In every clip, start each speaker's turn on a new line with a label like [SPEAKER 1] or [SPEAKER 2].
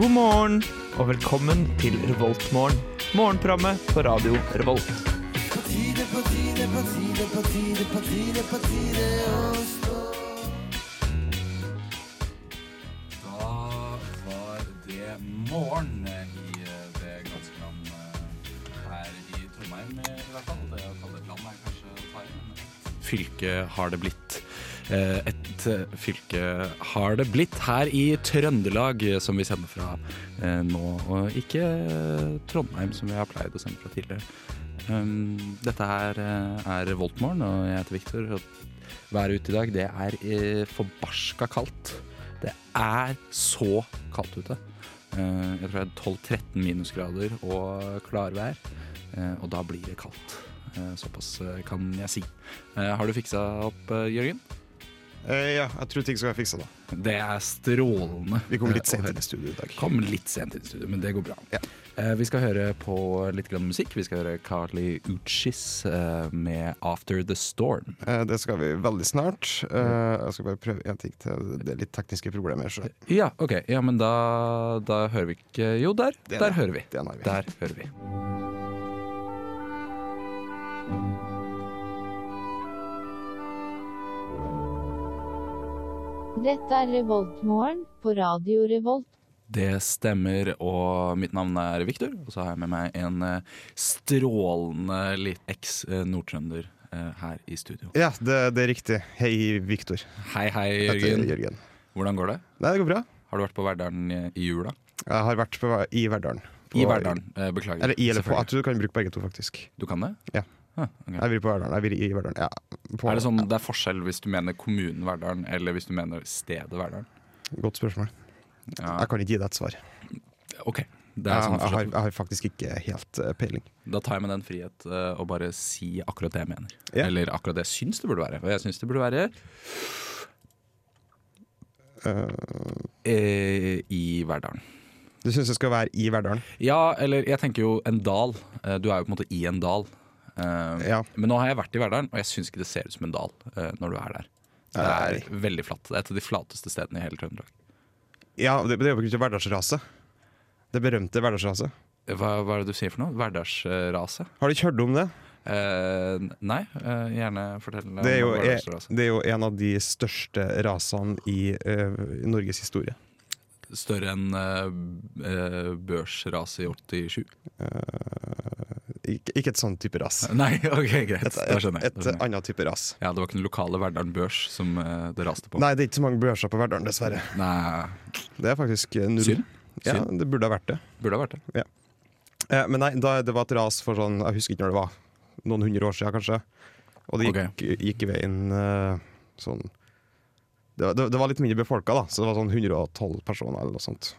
[SPEAKER 1] God morgen og velkommen til Revoltmorgen. Morgenprogrammet på radio Revolt.
[SPEAKER 2] Da var det morgen i eh, det ganske land eh, her i Trondheim eh, i hvert fall. Det å kalle det et land er kanskje å ta i, men
[SPEAKER 3] fylke har det blitt. Eh, Et eh, fylke har det blitt her i Trøndelag, eh, som vi sender fra eh, nå. Og ikke eh, Trondheim, som vi har pleid å sende fra tidligere. Um, Dette her eh, er Voltmorgen, og jeg heter Viktor. og Været ute i dag, det er eh, forbarska kaldt. Det er så kaldt ute. Eh, Jeg tror det er 12-13 minusgrader og klarvær. Eh, Og da blir det kaldt. Eh, Såpass eh, kan jeg si. Eh, Har du fiksa opp, eh, Jørgen?
[SPEAKER 4] Eh, ja, jeg tror ting skal være fiksa da.
[SPEAKER 3] Det er strålende.
[SPEAKER 4] Vi kommer litt
[SPEAKER 3] eh, å
[SPEAKER 4] sent
[SPEAKER 3] høre.
[SPEAKER 4] inn i studio i dag.
[SPEAKER 3] Kom litt sent inn i studio, men det går bra.
[SPEAKER 4] Ja.
[SPEAKER 3] Eh, Vi skal høre på litt grann musikk. Vi skal høre Carly Uchis eh, med 'After The Storm'.
[SPEAKER 4] Eh, det skal vi veldig snart.
[SPEAKER 3] Mm.
[SPEAKER 4] Eh, jeg skal bare prøve én ting til. Det er litt tekniske problemer. Så det
[SPEAKER 3] Ja, ok. Ja, men da, da hører vi ikke Jo, der.
[SPEAKER 4] Det er
[SPEAKER 3] der
[SPEAKER 4] det.
[SPEAKER 3] hører vi.
[SPEAKER 4] er nær vi.
[SPEAKER 3] Der hører vi.
[SPEAKER 5] Dette er Revoltmorgen på Radio Revolt.
[SPEAKER 3] Det stemmer, og mitt navn er Viktor. Og så har jeg med meg en eh, strålende litt eks-nordtrønder eh, her i studio.
[SPEAKER 4] Ja, det, det er riktig. Hei, Viktor.
[SPEAKER 3] Hei, hei,
[SPEAKER 4] Dette er
[SPEAKER 3] Jørgen.
[SPEAKER 4] Jørgen.
[SPEAKER 3] Hvordan går det?
[SPEAKER 4] Nei, det går bra.
[SPEAKER 3] Har du vært på Verdalen i- i jula?
[SPEAKER 4] Jeg har vært på, i Verdalen. På-
[SPEAKER 3] I Verdalen. Eh, Beklager.
[SPEAKER 4] Eller i eller på. Jeg
[SPEAKER 3] Selvfølgelig.
[SPEAKER 4] tror du kan bruke begge to, faktisk.
[SPEAKER 3] Du kan det?
[SPEAKER 4] Ja.
[SPEAKER 3] Ah, ok.
[SPEAKER 4] Jeg vil på Verdalen. Jeg vil i Verdalen. Ja, på,
[SPEAKER 3] Er det sånn det er forskjell hvis du mener kommunen Verdalen, eller hvis du mener stedet Verdalen?
[SPEAKER 4] Godt spørsmål.
[SPEAKER 3] Ja,
[SPEAKER 4] Jeg kan ikke gi deg et svar.
[SPEAKER 3] OK. Det er
[SPEAKER 4] Jeg,
[SPEAKER 3] sånn
[SPEAKER 4] jeg, har,
[SPEAKER 3] forstått.
[SPEAKER 4] jeg har faktisk ikke helt eh, peiling.
[SPEAKER 3] Da tar jeg meg den frihet eh, å bare si akkurat det jeg mener.
[SPEAKER 4] Ja.
[SPEAKER 3] Eller akkurat det jeg syns det burde være. Og jeg syns det burde være
[SPEAKER 4] Eh,
[SPEAKER 3] eh, i Verdalen.
[SPEAKER 4] du syns det skal være i Verdalen?
[SPEAKER 3] Ja, eller jeg tenker jo en dal. Eh, Du er jo på en måte i en dal. Eh,
[SPEAKER 4] Ja.
[SPEAKER 3] Men nå har jeg vært i Verdalen, og jeg syns ikke det ser ut som en dal eh, når du er der. Det
[SPEAKER 4] Nei.
[SPEAKER 3] er veldig flatt. Det er et av de flateste stedene i hele Trøndelag.
[SPEAKER 4] Ja, det, det er jo på grunn av hverdagsraset. Det berømte hverdagsraset.
[SPEAKER 3] Eh, Hva, hva er det du sier for noe? Hverdagsrase?
[SPEAKER 4] Har du ikke hørt om det?
[SPEAKER 3] Eh, nei, eh, gjerne fortell om
[SPEAKER 4] Det er, jo,
[SPEAKER 3] hverdagsrase.
[SPEAKER 4] det er jo en av de største rasene i, eh, i Norges historie.
[SPEAKER 3] Større enn eh, eh, børsraset i 87?
[SPEAKER 4] Ikke, ikke et sånn type ras.
[SPEAKER 3] Nei, ok, greit.
[SPEAKER 4] Et,
[SPEAKER 3] Da
[SPEAKER 4] et,
[SPEAKER 3] skjønner jeg.
[SPEAKER 4] et
[SPEAKER 3] Da skjønner jeg.
[SPEAKER 4] annet type ras.
[SPEAKER 3] Ja, Det var ikke den lokale Verdalen Børs som eh, det raste på?
[SPEAKER 4] Nei, det er ikke så mange børser på Verdalen, dessverre.
[SPEAKER 3] Nei.
[SPEAKER 4] Det er faktisk eh, null.
[SPEAKER 3] Synd.
[SPEAKER 4] Ja,
[SPEAKER 3] Synd.
[SPEAKER 4] det burde ha vært det.
[SPEAKER 3] Burde ha vært det.
[SPEAKER 4] Eh, men nei, da, det var et ras for sånn, jeg husker ikke når det var, noen hundre år siden kanskje. Og det gikk, gikk i veien eh, sånn det, var- det, det var litt mindre befolka, da, så det var sånn 112 personer eller noe sånt.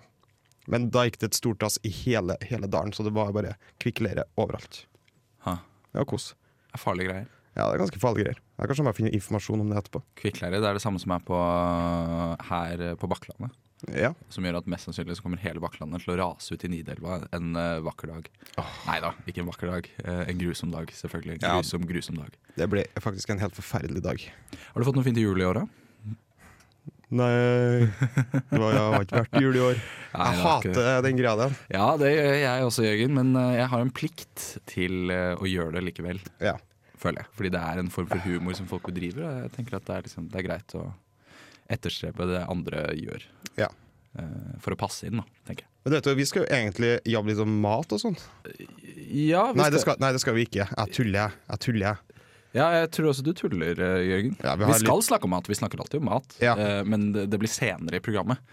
[SPEAKER 4] Men da gikk det et stort ras i hele, hele dalen, så det var bare kvikkleire overalt.
[SPEAKER 3] Ha.
[SPEAKER 4] Det var kos.
[SPEAKER 3] Det er farlige greier.
[SPEAKER 4] Ja, det er ganske farlige greier. Jeg kan bare finne informasjon om det etterpå.
[SPEAKER 3] Kvikkleire det er det samme som er på, her eh, på Bakklandet.
[SPEAKER 4] Ja,
[SPEAKER 3] Som gjør at mest sannsynlig så kommer hele Bakklandet til å rase ut i Nidelva en eh, vakker dag. Nei da, ikke en vakker dag. Eh, en grusom dag, selvfølgelig. En
[SPEAKER 4] Ja.
[SPEAKER 3] grusom, grusom dag.
[SPEAKER 4] Det ble faktisk en helt forferdelig dag.
[SPEAKER 3] Har du fått noe fint i jul i år, da?
[SPEAKER 4] Nei, det var, jeg har ikke vært jul i år.
[SPEAKER 3] Nei,
[SPEAKER 4] Jeg
[SPEAKER 3] det har ikke det.
[SPEAKER 4] hater den greia der.
[SPEAKER 3] Ja, det gjør jeg også, Jørgen. Men eh, jeg har en plikt til eh, å gjøre det likevel.
[SPEAKER 4] Ja.
[SPEAKER 3] føler jeg. Fordi det er en form for humor som folk bedriver. Og jeg tenker at det er, liksom, det er greit å etterstrebe det andre gjør.
[SPEAKER 4] Ja.
[SPEAKER 3] Eh, For å passe inn, da, tenker jeg.
[SPEAKER 4] Men du vet jo, vi skal jo egentlig jobbe litt om mat og sånt.
[SPEAKER 3] Ja,
[SPEAKER 4] Nei det, skal, nei, det skal vi ikke. Jeg tuller, jeg. jeg. tuller jeg.
[SPEAKER 3] ja, jeg tror også du tuller, eh, Jørgen.
[SPEAKER 4] Ja, vi
[SPEAKER 3] vi
[SPEAKER 4] har
[SPEAKER 3] skal snakke om mat, vi snakker alltid om mat.
[SPEAKER 4] Ja.
[SPEAKER 3] eh, Men det, det blir senere i programmet.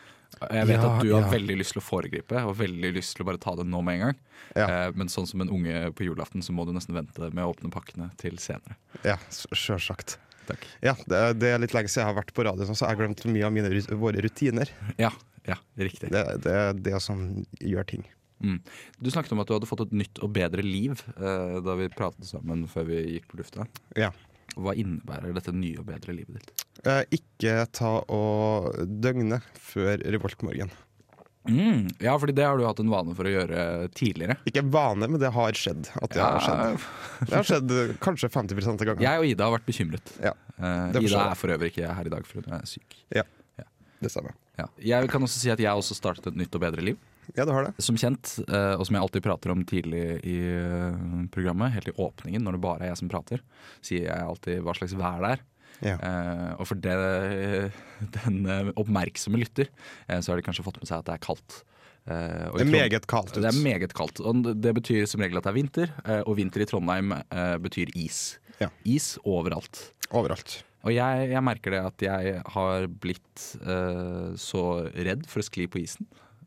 [SPEAKER 3] Jeg vet
[SPEAKER 4] Ja,
[SPEAKER 3] at du har
[SPEAKER 4] ja.
[SPEAKER 3] veldig lyst til å foregripe og veldig lyst til å bare ta det nå med en gang.
[SPEAKER 4] Ja.
[SPEAKER 3] Eh, Men sånn som en unge på julaften, så må du nesten vente med å åpne pakkene til senere.
[SPEAKER 4] Ja, s- Sjølsagt.
[SPEAKER 3] Takk.
[SPEAKER 4] Ja, det, er- det er litt lenge siden jeg har vært på radio, sånn, så jeg har glemt mye av mine, rut- våre rutiner.
[SPEAKER 3] Ja, ja, riktig.
[SPEAKER 4] Det, det er det som gjør ting.
[SPEAKER 3] Mm. Du snakket om at du hadde fått et nytt og bedre liv eh, da vi pratet sammen før vi gikk på lufta.
[SPEAKER 4] Ja.
[SPEAKER 3] Hva innebærer dette nye og bedre livet ditt?
[SPEAKER 4] Eh, Ikke ta og døgne før revoltmorgen.
[SPEAKER 3] Mm. Ja, fordi det har du hatt en vane for å gjøre tidligere.
[SPEAKER 4] Ikke vane, men det har skjedd. At det har skjedd. Det har skjedd eh, kanskje 50 av gangene.
[SPEAKER 3] Jeg og Ida har vært bekymret.
[SPEAKER 4] Ja,
[SPEAKER 3] Eh,
[SPEAKER 4] det forstår
[SPEAKER 3] Ida
[SPEAKER 4] jeg.
[SPEAKER 3] er for øvrig ikke her i dag, for hun er syk.
[SPEAKER 4] Det stemmer.
[SPEAKER 3] Ja. Jeg kan også si at jeg har også startet et nytt og bedre liv.
[SPEAKER 4] Ja, det har det.
[SPEAKER 3] Som kjent, eh, og som jeg alltid prater om tidlig i eh, programmet, helt i åpningen, når det bare er jeg som prater, sier jeg alltid hva slags vær det er.
[SPEAKER 4] Ja.
[SPEAKER 3] Eh, og for det, den eh, oppmerksomme lytter, eh, så har de kanskje fått med seg at det er kaldt. Eh, og i
[SPEAKER 4] Det er
[SPEAKER 3] Trond-
[SPEAKER 4] meget kaldt ut.
[SPEAKER 3] Det er meget kaldt. Og det betyr som regel at det er vinter, eh, og vinter i Trondheim eh, betyr is.
[SPEAKER 4] Ja.
[SPEAKER 3] Is overalt.
[SPEAKER 4] Overalt.
[SPEAKER 3] Og jeg, jeg merker det at jeg har blitt eh, så redd for å skli på isen.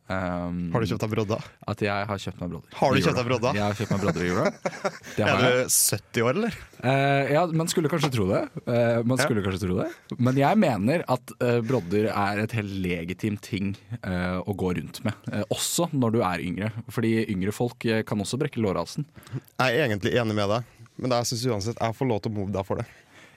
[SPEAKER 3] Um,
[SPEAKER 4] Har du kjøpt deg brodda?
[SPEAKER 3] At jeg har kjøpt meg brodder.
[SPEAKER 4] Har du
[SPEAKER 3] I jula.
[SPEAKER 4] kjøpt deg brodder?
[SPEAKER 3] Jeg har kjøpt meg brodder i jula. Det
[SPEAKER 4] Er
[SPEAKER 3] har
[SPEAKER 4] du
[SPEAKER 3] jeg.
[SPEAKER 4] 70 år, eller?
[SPEAKER 3] Eh, ja, man skulle kanskje tro det. Eh, man
[SPEAKER 4] Ja.
[SPEAKER 3] skulle kanskje tro det. Men jeg mener at eh, brodder er et helt legitim ting eh, å gå rundt med. Eh, også når du er yngre. Fordi yngre folk eh, kan også brekke lårhalsen.
[SPEAKER 4] Jeg er egentlig enig med deg, men jeg syns uansett jeg får lov til å move deg for det.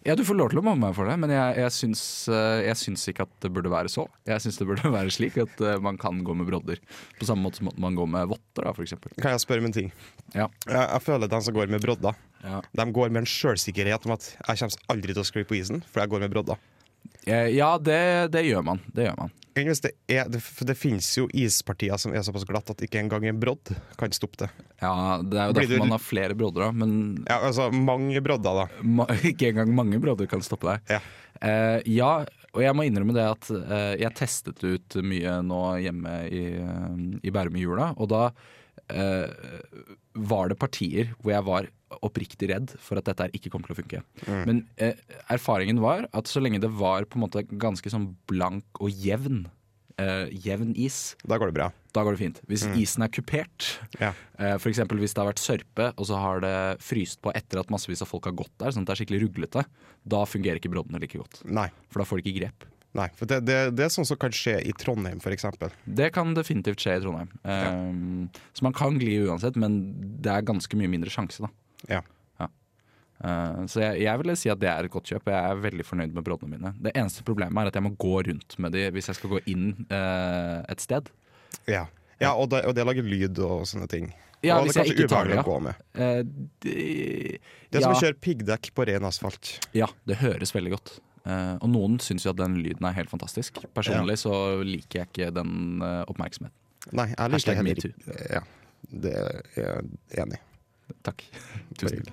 [SPEAKER 3] Ja, du får lov til å mobbe meg for det, men jeg, jeg, syns, eh, jeg syns ikke at det burde være så. Jeg syns det burde være slik at eh, man kan gå med brodder. På samme måte som at man går med votter, da, for eksempel.
[SPEAKER 4] Kan jeg spørre om en ting?
[SPEAKER 3] Ja.
[SPEAKER 4] Jeg, jeg føler at de som går med brodda,
[SPEAKER 3] Ja.
[SPEAKER 4] de går med en sjølsikkerhet om at jeg kommer aldri til å skli på isen, for jeg går med brodda.
[SPEAKER 3] Eh, ja, det, det gjør man. Det gjør man.
[SPEAKER 4] Enn hvis Det, er, det, for det finnes jo ispartier som er såpass glatt at ikke engang en brodd kan stoppe det.
[SPEAKER 3] Ja, Det er jo
[SPEAKER 4] Blir
[SPEAKER 3] derfor
[SPEAKER 4] du-
[SPEAKER 3] man har flere brodder, da. Men
[SPEAKER 4] Ja, altså, mange brodder, da.
[SPEAKER 3] ma ikke engang mange brodder kan stoppe deg.
[SPEAKER 4] Ja.
[SPEAKER 3] Eh, ja, og jeg må innrømme det at eh, jeg testet ut mye nå hjemme i, eh, i Bærum i jula, og da eh, var det partier hvor jeg var oppriktig redd for at dette her ikke kom til å funke. Men eh, erfaringen var at så lenge det var på en måte ganske sånn blank og jevn, eh, jevn is,
[SPEAKER 4] Da går det bra.
[SPEAKER 3] da går det fint. Hvis isen er kupert,
[SPEAKER 4] Ja.
[SPEAKER 3] eh, f.eks. hvis det har vært sørpe, og så har det fryst på etter at massevis av folk har gått der, sånn at det er skikkelig ruglete, da fungerer ikke broddene like godt.
[SPEAKER 4] Nei.
[SPEAKER 3] For da får de ikke grep.
[SPEAKER 4] Nei. For det, det, det er sånt som kan skje i Trondheim, f.eks.
[SPEAKER 3] Det kan definitivt skje i Trondheim. Ehm, Så man kan gli uansett, men det er ganske mye mindre sjanse, da.
[SPEAKER 4] Ja.
[SPEAKER 3] Eh, Så jeg, jeg ville si at det er et godt kjøp. og Jeg er veldig fornøyd med broddene mine. Det eneste problemet er at jeg må gå rundt med de hvis jeg skal gå inn eh, et sted.
[SPEAKER 4] Ja, ja og, det, og det lager lyd og sånne ting.
[SPEAKER 3] Ja,
[SPEAKER 4] og
[SPEAKER 3] hvis
[SPEAKER 4] det er
[SPEAKER 3] jeg
[SPEAKER 4] kanskje
[SPEAKER 3] ikke tar det,
[SPEAKER 4] ubehagelig
[SPEAKER 3] ja.
[SPEAKER 4] å gå med.
[SPEAKER 3] Eh, de-
[SPEAKER 4] Det
[SPEAKER 3] ja,
[SPEAKER 4] er som å kjøre piggdekk på ren asfalt.
[SPEAKER 3] ja, det høres veldig godt. Eh, og noen syns jo at den lyden er helt fantastisk. Personlig så liker jeg ikke den eh, oppmerksomheten.
[SPEAKER 4] Nei, jeg liker
[SPEAKER 3] Hashtag
[SPEAKER 4] heller
[SPEAKER 3] metoo.
[SPEAKER 4] ikke- Ja, det er jeg enig i.
[SPEAKER 3] Takk. Tusen takk.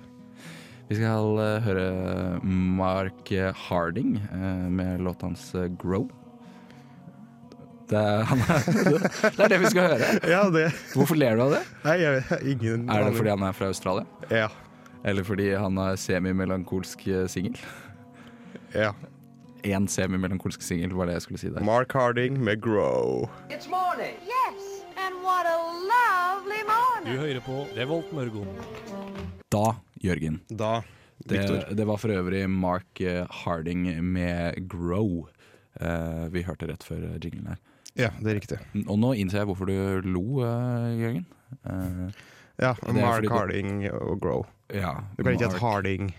[SPEAKER 3] Vi skal eh, høre Mark Harding eh, med låta hans eh, 'Grow'. Det er, han er, det er det vi skal høre.
[SPEAKER 4] Ja, det
[SPEAKER 3] Hvorfor ler du av det?
[SPEAKER 4] Nei, jeg ingen
[SPEAKER 3] Er det fordi han er fra Australia?
[SPEAKER 4] Ja.
[SPEAKER 3] Eller fordi han er semimelankolsk eh, singel?
[SPEAKER 4] ja.
[SPEAKER 3] Én semimelankolsk singel, var det jeg skulle si der.
[SPEAKER 4] Mark Harding med Grow.
[SPEAKER 6] It's morning.
[SPEAKER 7] Yes, and what a lovely morning.
[SPEAKER 8] hører på Revolt Mørgon.
[SPEAKER 3] Da, Jørgen.
[SPEAKER 4] Da
[SPEAKER 3] Det,
[SPEAKER 4] Victor.
[SPEAKER 3] det var for øvrig Mark eh, Harding med 'Grow'. Eh, vi hørte rett før eh, jinglen her.
[SPEAKER 4] Ja, det er riktig.
[SPEAKER 3] Og nå innser jeg hvorfor du lo, eh, Jørgen. Eh,
[SPEAKER 4] Ja,
[SPEAKER 3] er
[SPEAKER 4] Mark
[SPEAKER 3] fordi du-
[SPEAKER 4] Harding og Grow.
[SPEAKER 3] ja,
[SPEAKER 4] Du kan ikke hete
[SPEAKER 3] Mark
[SPEAKER 4] Harding.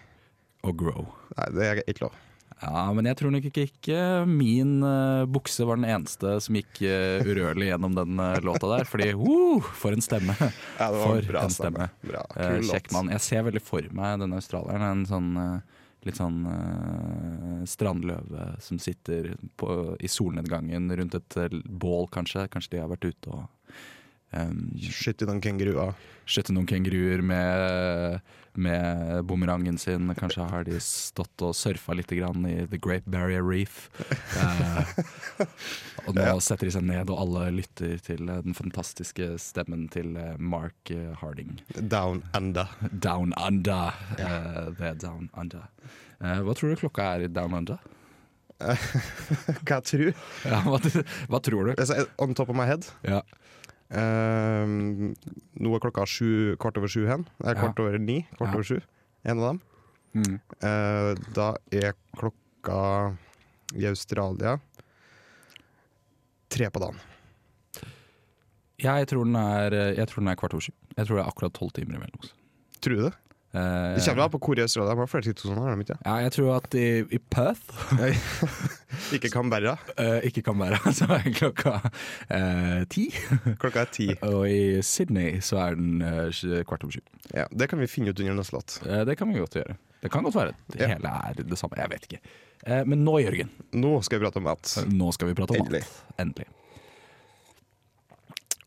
[SPEAKER 3] og grow.
[SPEAKER 4] Nei, det er ikke lov.
[SPEAKER 3] Ja, men jeg tror nok ikke, ikke min eh, bukse var den eneste som gikk eh, urørlig gjennom den eh, låta der. Fordi uh, for en stemme!
[SPEAKER 4] Ja, det var
[SPEAKER 3] for
[SPEAKER 4] en bra
[SPEAKER 3] en
[SPEAKER 4] stemme.
[SPEAKER 3] stemme.
[SPEAKER 4] Bra,
[SPEAKER 3] Eh,
[SPEAKER 4] kul
[SPEAKER 3] kjekk
[SPEAKER 4] låt.
[SPEAKER 3] mann. Jeg ser veldig for meg denne australieren. En sånn eh, litt sånn eh, strandløve som sitter på, i solnedgangen rundt et eh, bål, kanskje. Kanskje de har vært ute og um,
[SPEAKER 4] Skyt i noen kenguruer.
[SPEAKER 3] Skjøtte noen kenguruer med, med bumerangen sin. Kanskje har de stått og surfa litt grann i The Great Barrier Reef. Eh, og nå setter de seg ned, og alle lytter til eh, den fantastiske stemmen til eh, Mark eh, Harding.
[SPEAKER 4] Down under.
[SPEAKER 3] Down under. Eh, det er down under. Eh, hva tror du klokka er i down under?
[SPEAKER 4] Hva jeg tror
[SPEAKER 3] Ja, hva, hva tror du?
[SPEAKER 4] Altså, On top of my head
[SPEAKER 3] Ja.
[SPEAKER 4] Ehm, Nå er klokka sju, kvart over sju hen.
[SPEAKER 3] Ja.
[SPEAKER 4] Nei, kvart over ni. Kvart
[SPEAKER 3] Ja.
[SPEAKER 4] over sju. En av dem.
[SPEAKER 3] Mm.
[SPEAKER 4] Eh, da er klokka i Australia tre på dagen.
[SPEAKER 3] Jeg, tror den er, eh, jeg tror den er kvart over sju. Jeg tror det er akkurat tolv timer imellom. oss.
[SPEAKER 4] Tror du det?
[SPEAKER 3] Eh,
[SPEAKER 4] Det kommer an på hvor i Australia. De har flere tidssoner, har de ikke?
[SPEAKER 3] ja, jeg tror at i, i Perth
[SPEAKER 4] Ikke Canberra.
[SPEAKER 3] Eh, ikke kan være, så er klokka eh, ti.
[SPEAKER 4] Klokka er ti.
[SPEAKER 3] Og i Sydney så er den eh, sj- kvart over sju.
[SPEAKER 4] Ja, det kan vi finne ut under neste låt.
[SPEAKER 3] Eh, det kan vi godt gjøre. Det kan godt være at det
[SPEAKER 4] Ja.
[SPEAKER 3] hele er det samme, jeg vet ikke. Eh, men nå, Jørgen,
[SPEAKER 4] Nå skal vi prate om mat.
[SPEAKER 3] nå skal vi prate om
[SPEAKER 4] Endelig.
[SPEAKER 3] mat. Endelig.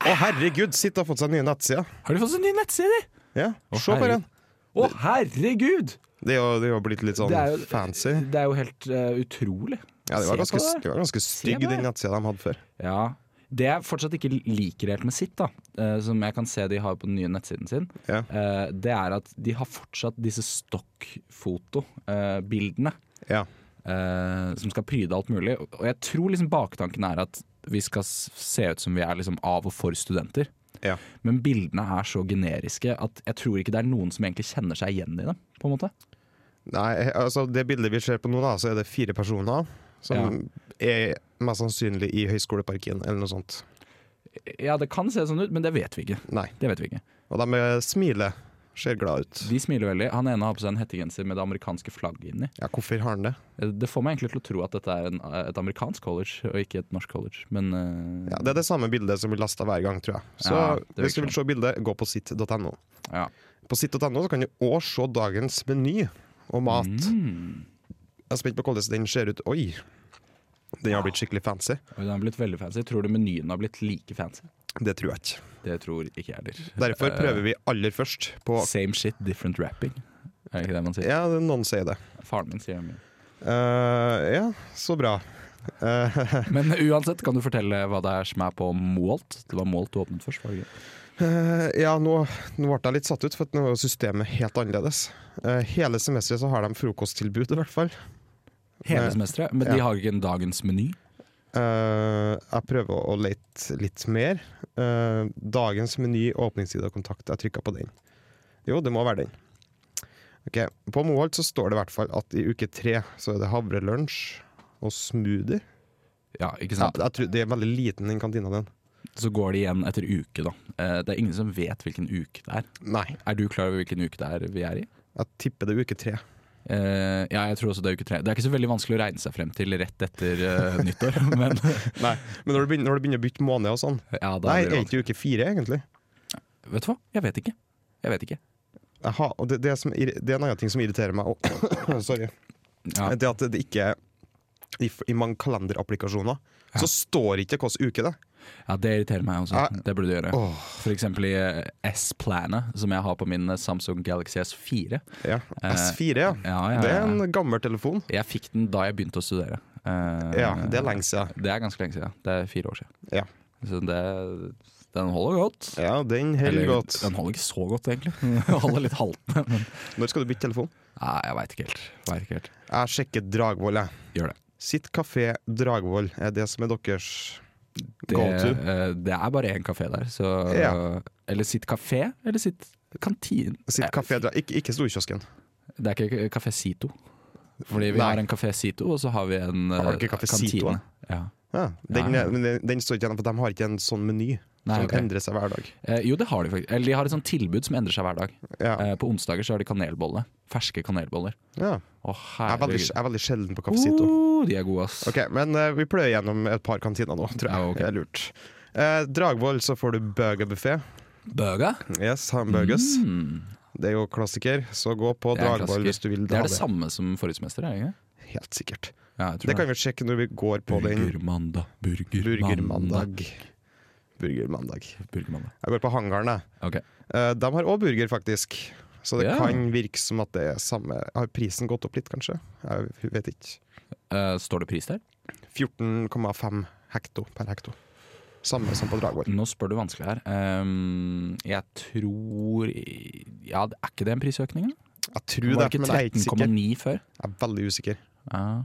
[SPEAKER 4] Å, herregud, Sitt har fått seg nye nettsider.
[SPEAKER 3] Har de fått seg ny nettside? de?
[SPEAKER 4] Ja,
[SPEAKER 3] Å,
[SPEAKER 4] Se på den.
[SPEAKER 3] Å, herregud!
[SPEAKER 4] Det er jo- det er jo blitt litt sånn
[SPEAKER 3] Det er jo-
[SPEAKER 4] fancy.
[SPEAKER 3] Det er jo helt eh, utrolig.
[SPEAKER 4] Ja, det var
[SPEAKER 3] Se på
[SPEAKER 4] ganske,
[SPEAKER 3] det.
[SPEAKER 4] det var ganske stygg,
[SPEAKER 3] på det.
[SPEAKER 4] den nettsida de hadde før.
[SPEAKER 3] Ja. Det jeg fortsatt ikke liker helt med sitt, da, eh, som jeg kan se de har på den nye nettsiden sin,
[SPEAKER 4] Ja.
[SPEAKER 3] eh, det er at de har fortsatt disse stokkfotobildene
[SPEAKER 4] Ja.
[SPEAKER 3] eh, som skal pryde alt mulig. Og jeg tror liksom baktanken er at vi skal s- se ut som vi er liksom av og for studenter.
[SPEAKER 4] Ja.
[SPEAKER 3] Men bildene er så generiske at jeg tror ikke det er noen som egentlig kjenner seg igjen i dem. på en måte.
[SPEAKER 4] Nei, altså Det bildet vi ser på nå, da, så er det fire personer som er mest sannsynlig i Høyskoleparken eller noe sånt.
[SPEAKER 3] Ja, det kan se sånn ut, men det vet vi ikke.
[SPEAKER 4] Nei.
[SPEAKER 3] Det vet vi ikke.
[SPEAKER 4] Og de eh, smiler. Ser glad ut.
[SPEAKER 3] De smiler veldig. Han ene har på seg en hettegenser med det amerikanske flagget inni. Eh,
[SPEAKER 4] Ja, hvorfor har han det?
[SPEAKER 3] Det får meg egentlig til å tro at dette er en, eh, et amerikansk college, og ikke et norsk college. Men eh,
[SPEAKER 4] Ja, det er det samme bildet som blir lasta hver gang, tror jeg. Så
[SPEAKER 3] Ja, det virker
[SPEAKER 4] hvis du vil se bildet, gå på sitt.no.
[SPEAKER 3] ja.
[SPEAKER 4] På sitt.no så kan du òg se dagens meny og mat.
[SPEAKER 3] Mm.
[SPEAKER 4] Jeg er spent på hvordan den ser ut. Oi! Den har blitt skikkelig fancy.
[SPEAKER 3] Og den har blitt veldig fancy. Tror du menyen har blitt like fancy?
[SPEAKER 4] Det tror jeg ikke.
[SPEAKER 3] Det tror ikke jeg heller.
[SPEAKER 4] Derfor prøver vi aller først på
[SPEAKER 3] Same shit, different rapping. Er det ikke det man sier?
[SPEAKER 4] Ja, noen sier det.
[SPEAKER 3] Faren min sier det mye.
[SPEAKER 4] Eh, ja, så bra. Eh,
[SPEAKER 3] Men uansett, kan du fortelle hva det er som er på Moalt? Det var Moalt du åpnet først, var det ikke?
[SPEAKER 4] Eh, ja, nå, nå ble jeg litt satt ut, for at nå er jo systemet helt annerledes. Eh, hele semesteret så har de frokosttilbud, i hvert fall.
[SPEAKER 3] Hele
[SPEAKER 4] Nei.
[SPEAKER 3] semesteret. Men
[SPEAKER 4] Ja.
[SPEAKER 3] de har ikke en dagens meny.
[SPEAKER 4] Eh, jeg prøver å lete litt mer. Eh, dagens meny, åpningstid og kontakt. Jeg trykka på den. Jo, det må være den. Ok, På Moholt så står det i hvert fall at i uke tre så er det havrelunsj og smoothie.
[SPEAKER 3] Ja, ikke
[SPEAKER 4] Ja,
[SPEAKER 3] sant?
[SPEAKER 4] jeg tror det er veldig liten, den kantina, den.
[SPEAKER 3] Så går det igjen etter uke, da. Eh, Det er ingen som vet hvilken uke det er.
[SPEAKER 4] Nei,
[SPEAKER 3] Er du klar over hvilken uke det er vi er i?
[SPEAKER 4] jeg tipper det er uke tre.
[SPEAKER 3] Eh, ja, jeg tror også det er uke tre. Det er ikke så veldig vanskelig å regne seg frem til rett etter eh, nyttår, men
[SPEAKER 4] Nei, Men når du begynner, når du begynner å bytte måned og sånn
[SPEAKER 3] ja, da blir
[SPEAKER 4] Nei, er
[SPEAKER 3] det
[SPEAKER 4] det ikke uke fire, egentlig?
[SPEAKER 3] vanskelig. Vet du hva? Jeg vet ikke. Jeg vet ikke.
[SPEAKER 4] Aha, og det, det, som, irri- det er en annen ting som irriterer meg også. Sorry.
[SPEAKER 3] Ja,
[SPEAKER 4] Det at det ikke i, f- I mange kalenderapplikasjoner så står ikke hvilken uke det er.
[SPEAKER 3] ja det irriterer meg også.
[SPEAKER 4] Ja.
[SPEAKER 3] Det burde du gjøre.
[SPEAKER 4] Åh.
[SPEAKER 3] For eksempel i eh, S-planet, som jeg har på min eh, Samsung Galaxy S4.
[SPEAKER 4] Ja.
[SPEAKER 3] Eh,
[SPEAKER 4] S4, ja.
[SPEAKER 3] Ja, ja,
[SPEAKER 4] Det er
[SPEAKER 3] ja.
[SPEAKER 4] en gammel telefon.
[SPEAKER 3] Jeg fikk den da jeg begynte å studere. Eh,
[SPEAKER 4] Ja, Det er lenge siden.
[SPEAKER 3] Det er ganske lenge siden. Det er fire år siden.
[SPEAKER 4] Ja.
[SPEAKER 3] Så det, den holder godt.
[SPEAKER 4] Ja, den holder
[SPEAKER 3] Eller,
[SPEAKER 4] godt.
[SPEAKER 3] Den holder ikke så godt, egentlig. Den holder litt haltende. Men
[SPEAKER 4] Når skal du bytte telefon?
[SPEAKER 3] nei, jeg veit ikke helt. Vet ikke helt.
[SPEAKER 4] Jeg sjekker Dragvoll, jeg.
[SPEAKER 3] Gjør det.
[SPEAKER 4] Sitt kafé Dragvoll er det som er deres
[SPEAKER 3] Det,
[SPEAKER 4] go to.
[SPEAKER 3] eh, det er bare én kafé der, så
[SPEAKER 4] Ja.
[SPEAKER 3] Eller sitt kafé, eller sitt kantin.
[SPEAKER 4] Sitt
[SPEAKER 3] Eh,
[SPEAKER 4] kafé Dra... Ikke, ikke storkiosken.
[SPEAKER 3] Det er ikke Kafé Sito. Fordi vi
[SPEAKER 4] Nei.
[SPEAKER 3] har en Kafé Sito, og så har vi en
[SPEAKER 4] Har dere
[SPEAKER 3] eh,
[SPEAKER 4] Café Sito, da?
[SPEAKER 3] Ja.
[SPEAKER 4] Ja, den,
[SPEAKER 3] Ja, ja.
[SPEAKER 4] men den, den står ikke igjen, for de har ikke en sånn meny
[SPEAKER 3] Nei,
[SPEAKER 4] som
[SPEAKER 3] ok.
[SPEAKER 4] endrer seg hver dag.
[SPEAKER 3] Eh, jo, det har de faktisk. Eller de har et sånt tilbud som endrer seg hver dag.
[SPEAKER 4] Ja.
[SPEAKER 3] Eh, på onsdager så har de kanelbolle. Ferske kanelboller.
[SPEAKER 4] Ja.
[SPEAKER 3] Å,
[SPEAKER 4] Jeg, er veldig,
[SPEAKER 3] herregud.
[SPEAKER 4] jeg er veldig sjelden på Cafecito.
[SPEAKER 3] Oh, de er gode, ass.
[SPEAKER 4] Ok, men eh, vi pløyer gjennom et par kantiner nå, tror jeg.
[SPEAKER 3] Ja, ok.
[SPEAKER 4] Det er lurt. Eh, Dragvoll så får du burgerbuffé.
[SPEAKER 3] Burger?
[SPEAKER 4] Yes, hamburgers.
[SPEAKER 3] Mm,
[SPEAKER 4] Det er jo klassiker, så gå på
[SPEAKER 3] det er en
[SPEAKER 4] Dragvoll
[SPEAKER 3] klassiker.
[SPEAKER 4] hvis du vil
[SPEAKER 3] Det
[SPEAKER 4] ha
[SPEAKER 3] er det samme som forrige semester, er det ikke?
[SPEAKER 4] Helt sikkert.
[SPEAKER 3] Ja, jeg tror
[SPEAKER 4] Det kan vi sjekke når vi går på den
[SPEAKER 3] Burgermandag. Burgermandag.
[SPEAKER 4] burgermandag. Burgermandag.
[SPEAKER 3] Burgermandag.
[SPEAKER 4] Jeg går på hangaren, jeg.
[SPEAKER 3] Ok.
[SPEAKER 4] Eh, de har òg burger, faktisk. Så det
[SPEAKER 3] Ja.
[SPEAKER 4] kan virke som at det er samme Har prisen gått opp litt, kanskje? Jeg vet ikke.
[SPEAKER 3] Eh, står det pris der?
[SPEAKER 4] 14,5 hekto per hekto. Samme som på Dragvoll.
[SPEAKER 3] Nå spør du vanskelig her. Ehm, jeg tror Ja, er ikke det en prisøkning? da?
[SPEAKER 4] Jeg tror
[SPEAKER 3] Var det
[SPEAKER 4] det,
[SPEAKER 3] ikke
[SPEAKER 4] men jeg er ikke sikker.
[SPEAKER 3] 13,9 før?
[SPEAKER 4] Jeg er veldig usikker.
[SPEAKER 3] Ja.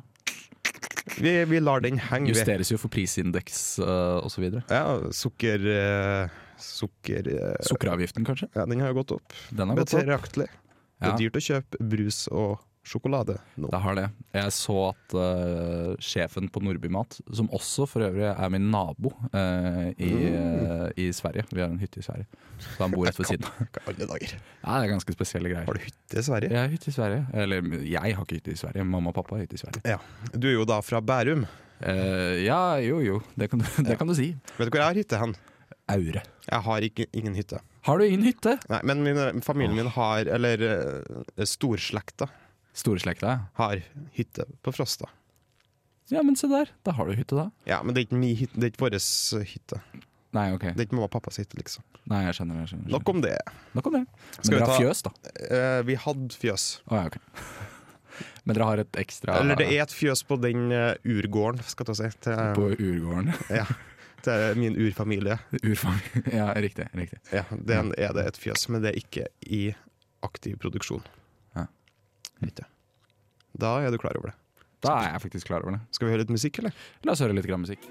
[SPEAKER 4] Vi, vi lar den henge. ved.
[SPEAKER 3] Justeres jo for prisindeks uh, osv.
[SPEAKER 4] Ja, sukker... eh, sukker... eh,
[SPEAKER 3] Sukkeravgiften, kanskje?
[SPEAKER 4] ja, den har jo gått opp.
[SPEAKER 3] Den har gått opp.
[SPEAKER 4] Betraktelig. Det
[SPEAKER 3] Ja.
[SPEAKER 4] er dyrt å kjøpe brus og sjokolade nå.
[SPEAKER 3] Det har det. Jeg så at eh, sjefen på Nordby Mat, som også for øvrig er min nabo eh, i,
[SPEAKER 4] Mm.
[SPEAKER 3] eh, i Sverige Vi har en hytte i Sverige, så han bor rett ved siden av.
[SPEAKER 4] Hva i alle dager.
[SPEAKER 3] Ja, det er ganske spesielle greier.
[SPEAKER 4] Har du hytte i Sverige?
[SPEAKER 3] Jeg har hytte i Sverige. Eller jeg har ikke hytte i Sverige, mamma og pappa har hytte i Sverige.
[SPEAKER 4] Ja. Du er jo da fra Bærum.
[SPEAKER 3] Eh, ja, jo jo, det kan, du, det kan du si.
[SPEAKER 4] Vet du hvor jeg har hytte hen?
[SPEAKER 3] Aure.
[SPEAKER 4] Jeg har ikke, ingen hytte.
[SPEAKER 3] Har du ingen hytte?
[SPEAKER 4] Nei, men min, eh, familien min har, eller eh, storslekta,
[SPEAKER 3] Storslekta?
[SPEAKER 4] har hytte på Frosta.
[SPEAKER 3] Ja, men se der. Da har du hytte, da.
[SPEAKER 4] Ja, men det er ikke min hytte, det er ikke våres hytte.
[SPEAKER 3] Nei, ok.
[SPEAKER 4] Det er ikke mamma og pappa sitt, liksom.
[SPEAKER 3] Nei, jeg skjønner. jeg skjønner, jeg
[SPEAKER 4] Nok om det.
[SPEAKER 3] skjønner. Nok om det. Men
[SPEAKER 4] Skal vi
[SPEAKER 3] dere har
[SPEAKER 4] ta-
[SPEAKER 3] fjøs, da?
[SPEAKER 4] Eh, vi hadde fjøs.
[SPEAKER 3] Å, ja, ok. Men dere har et ekstra
[SPEAKER 4] Eller det er et fjøs på den eh, urgården, skal jeg ta og si. Til,
[SPEAKER 3] på urgården?
[SPEAKER 4] ja, til min urfamilie.
[SPEAKER 3] Urfang. Ja, riktig. riktig.
[SPEAKER 4] Ja, den er det et fjøs, men det er ikke i aktiv produksjon.
[SPEAKER 3] Ja.
[SPEAKER 4] Riktig. Da er du klar over det.
[SPEAKER 3] Da er jeg faktisk klar over det.
[SPEAKER 4] Skal vi høre litt musikk, eller?
[SPEAKER 3] La oss høre litt grann musikk.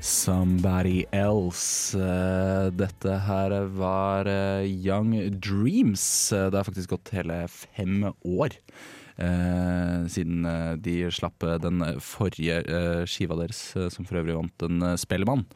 [SPEAKER 3] Somebody Else. Eh, Dette her var eh, Young Dreams. Eh, Det har faktisk gått hele fem år eh, siden eh, de slapp eh, den forrige eh, skiva deres, eh, som for øvrig vant en eh, Spellemann.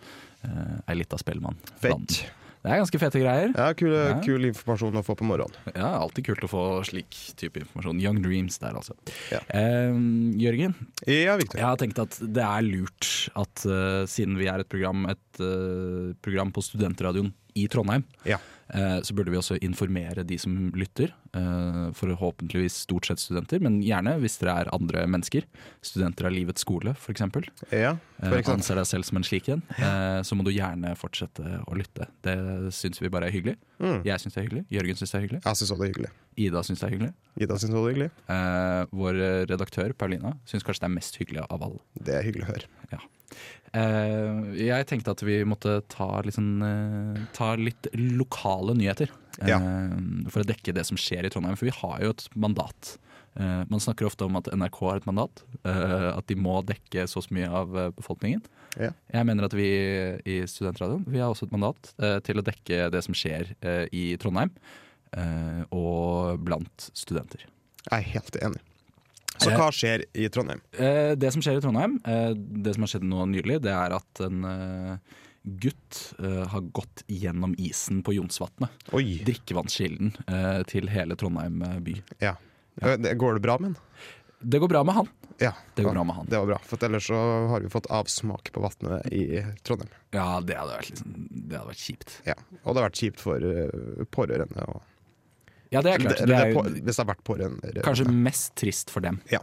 [SPEAKER 3] Eh, Ei lita Spellemann.
[SPEAKER 4] Fett.
[SPEAKER 3] Det er ganske fete greier.
[SPEAKER 4] Ja, kul,
[SPEAKER 3] Ja.
[SPEAKER 4] kul informasjon å få på morgenen.
[SPEAKER 3] Ja, alltid kult å få slik type informasjon. Young Dreams der, altså.
[SPEAKER 4] Ja.
[SPEAKER 3] Eh, Jørgen,
[SPEAKER 4] Ja, Victor.
[SPEAKER 3] jeg har tenkt at det er lurt at eh, siden vi er et program, et eh, program på studentradioen i Trondheim,
[SPEAKER 4] Ja.
[SPEAKER 3] eh, så burde vi også informere de som lytter. eh, forhåpentligvis stort sett studenter, men gjerne hvis dere er andre mennesker. Studenter av livets skole, f.eks.
[SPEAKER 4] Ja,
[SPEAKER 3] Eh,
[SPEAKER 4] for eksempel.
[SPEAKER 3] anser deg selv som en slik en. Eh, så må du gjerne fortsette å lytte. Det syns vi bare er hyggelig.
[SPEAKER 4] Mm.
[SPEAKER 3] Jeg syns det er hyggelig. Jørgen syns det er hyggelig.
[SPEAKER 4] Jeg syns også det er hyggelig.
[SPEAKER 3] Ida syns det er hyggelig.
[SPEAKER 4] Ida syns også det er hyggelig.
[SPEAKER 3] Eh, vår redaktør Paulina syns kanskje det er mest hyggelig av alle.
[SPEAKER 4] Det er hyggelig å høre.
[SPEAKER 3] Eh, jeg tenkte at vi måtte ta litt, sånn, eh, ta litt lokale nyheter. eh,
[SPEAKER 4] Ja.
[SPEAKER 3] For å dekke det som skjer i Trondheim, for vi har jo et mandat. Eh, man snakker ofte om at NRK har et mandat, eh, at de må dekke så og så mye av eh, befolkningen.
[SPEAKER 4] Ja.
[SPEAKER 3] Jeg mener at vi i Studentradioen vi har også et mandat eh, til å dekke det som skjer eh, i Trondheim, eh, og blant studenter.
[SPEAKER 4] Jeg er helt enig. Så
[SPEAKER 3] Eh.
[SPEAKER 4] hva skjer i Trondheim?
[SPEAKER 3] Eh, det som skjer i Trondheim, eh, det som har skjedd nå nylig, det er at en eh, gutt eh, har gått gjennom isen på Jonsvatnet.
[SPEAKER 4] Oi.
[SPEAKER 3] Drikkevannskilden eh, til hele Trondheim eh, by.
[SPEAKER 4] Ja. Eh, det- Går det bra med den?
[SPEAKER 3] Det går bra med han.
[SPEAKER 4] Ja.
[SPEAKER 3] Det går bra
[SPEAKER 4] ja,
[SPEAKER 3] med han.
[SPEAKER 4] Det var bra, for ellers så har vi fått avsmak på vannet i Trondheim.
[SPEAKER 3] Ja, det hadde vært, liksom, det hadde vært kjipt.
[SPEAKER 4] Ja. Og det har vært kjipt for eh, pårørende. Og
[SPEAKER 3] Ja, det er klart. Det
[SPEAKER 4] Eller det
[SPEAKER 3] er
[SPEAKER 4] på,
[SPEAKER 3] jo
[SPEAKER 4] hvis det har vært pårørende.
[SPEAKER 3] kanskje mest trist for dem.
[SPEAKER 4] Ja.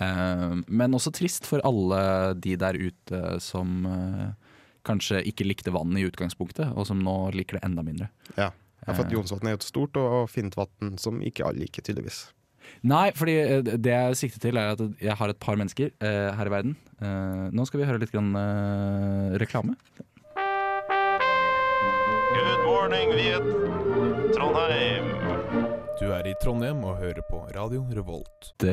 [SPEAKER 3] Eh, men også trist for alle de der ute som eh, kanskje ikke likte vann i utgangspunktet, og som nå liker det enda mindre. Eh,
[SPEAKER 4] Ja. Ja, for at Jonsvatn er jo et stort og fint vann som ikke alle liker, tydeligvis.
[SPEAKER 3] Nei, fordi eh, det jeg sikter til er at jeg har et par mennesker eh, her i verden. Eh, nå skal vi høre litt grann, eh, reklame.
[SPEAKER 6] Good morning, Viet. Trondheim.
[SPEAKER 8] Du er i Trondheim og hører på Radio Revolt.
[SPEAKER 3] Det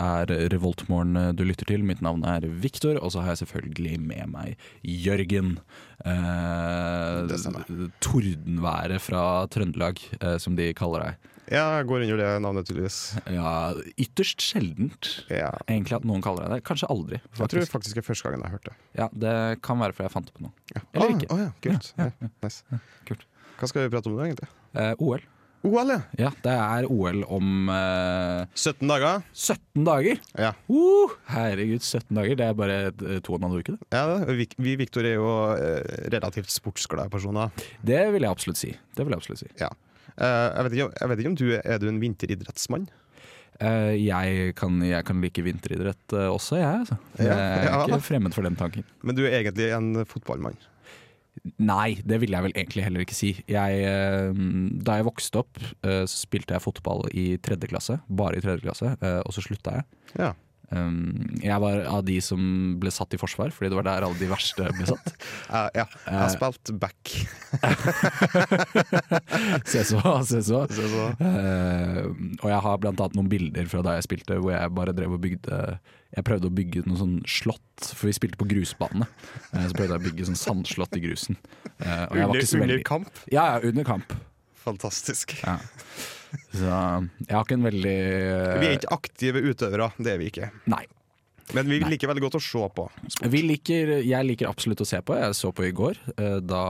[SPEAKER 3] er Revoltmorgen eh, du lytter til. Mitt navn er Viktor, og så har jeg selvfølgelig med meg Jørgen. Eh,
[SPEAKER 4] Det stemmer.
[SPEAKER 3] Tordenværet fra Trøndelag, eh, som de kaller deg.
[SPEAKER 4] Ja, jeg går under det navnet, tydeligvis.
[SPEAKER 3] Ja, ytterst sjeldent.
[SPEAKER 4] Ja.
[SPEAKER 3] Egentlig at noen kaller deg det. Kanskje aldri.
[SPEAKER 4] Jeg tror
[SPEAKER 3] Faktisk.
[SPEAKER 4] faktisk det er første gangen jeg har hørt det.
[SPEAKER 3] Ja, det kan være fordi jeg fant på noe. Eller
[SPEAKER 4] ah,
[SPEAKER 3] ikke.
[SPEAKER 4] ah, ja, kult. Ja, nice.
[SPEAKER 3] kult.
[SPEAKER 4] Hva skal vi prate om nå, egentlig? E!
[SPEAKER 3] Eh, OL.
[SPEAKER 4] OL, ja!
[SPEAKER 3] Ja, det er OL om eh,
[SPEAKER 4] 17 dager.
[SPEAKER 3] 17 dager!
[SPEAKER 4] Ja.
[SPEAKER 3] Uh, herregud, 17 dager. Det er bare eh, to og en halv uke, det.
[SPEAKER 4] ja det. Vi, vi Victor er jo eh, relativt sportsglade personer.
[SPEAKER 3] Det vil jeg absolutt si. Det vil jeg absolutt si.
[SPEAKER 4] Eh, jeg, vet ikke, om- jeg vet ikke om du er, er du en vinteridrettsmann?
[SPEAKER 3] Eh, jeg, kan, jeg kan like vinteridrett eh, også, jeg. Altså. Jeg er
[SPEAKER 4] ja da.
[SPEAKER 3] ikke fremmed for den tanken.
[SPEAKER 4] Men du er egentlig en fotballmann.
[SPEAKER 3] Nei, det ville jeg vel egentlig heller ikke si. Jeg, eh, da jeg vokste opp, eh, så spilte jeg fotball i tredje klasse. Bare i tredje klasse, eh, og så slutta jeg.
[SPEAKER 4] Ja.
[SPEAKER 3] Um, jeg var av de som ble satt i forsvar, fordi det var der alle de verste ble satt.
[SPEAKER 4] Eh, ja. Jeg har spilt back.
[SPEAKER 3] Se så, se så.
[SPEAKER 4] Så, så.
[SPEAKER 3] Eh, og jeg har blant annet noen bilder fra da jeg spilte hvor jeg bare drev og bygde Jeg prøvde å bygge noe sånn slott, for vi spilte på grusbane. Eh, så prøvde jeg å bygge sånn sandslott i grusen. Eh, og jeg var
[SPEAKER 4] Under,
[SPEAKER 3] ikke så
[SPEAKER 4] under
[SPEAKER 3] veldig
[SPEAKER 4] kamp.
[SPEAKER 3] Ja, ja, under kamp.
[SPEAKER 4] Fantastisk.
[SPEAKER 3] Ja. Så jeg har ikke en veldig eh,
[SPEAKER 4] Vi er ikke aktive utøvere, det er vi ikke.
[SPEAKER 3] Nei.
[SPEAKER 4] Men vi
[SPEAKER 3] Nei.
[SPEAKER 4] liker veldig godt å se på.
[SPEAKER 3] Vi liker, jeg liker absolutt å se på. Jeg så på i går, eh, da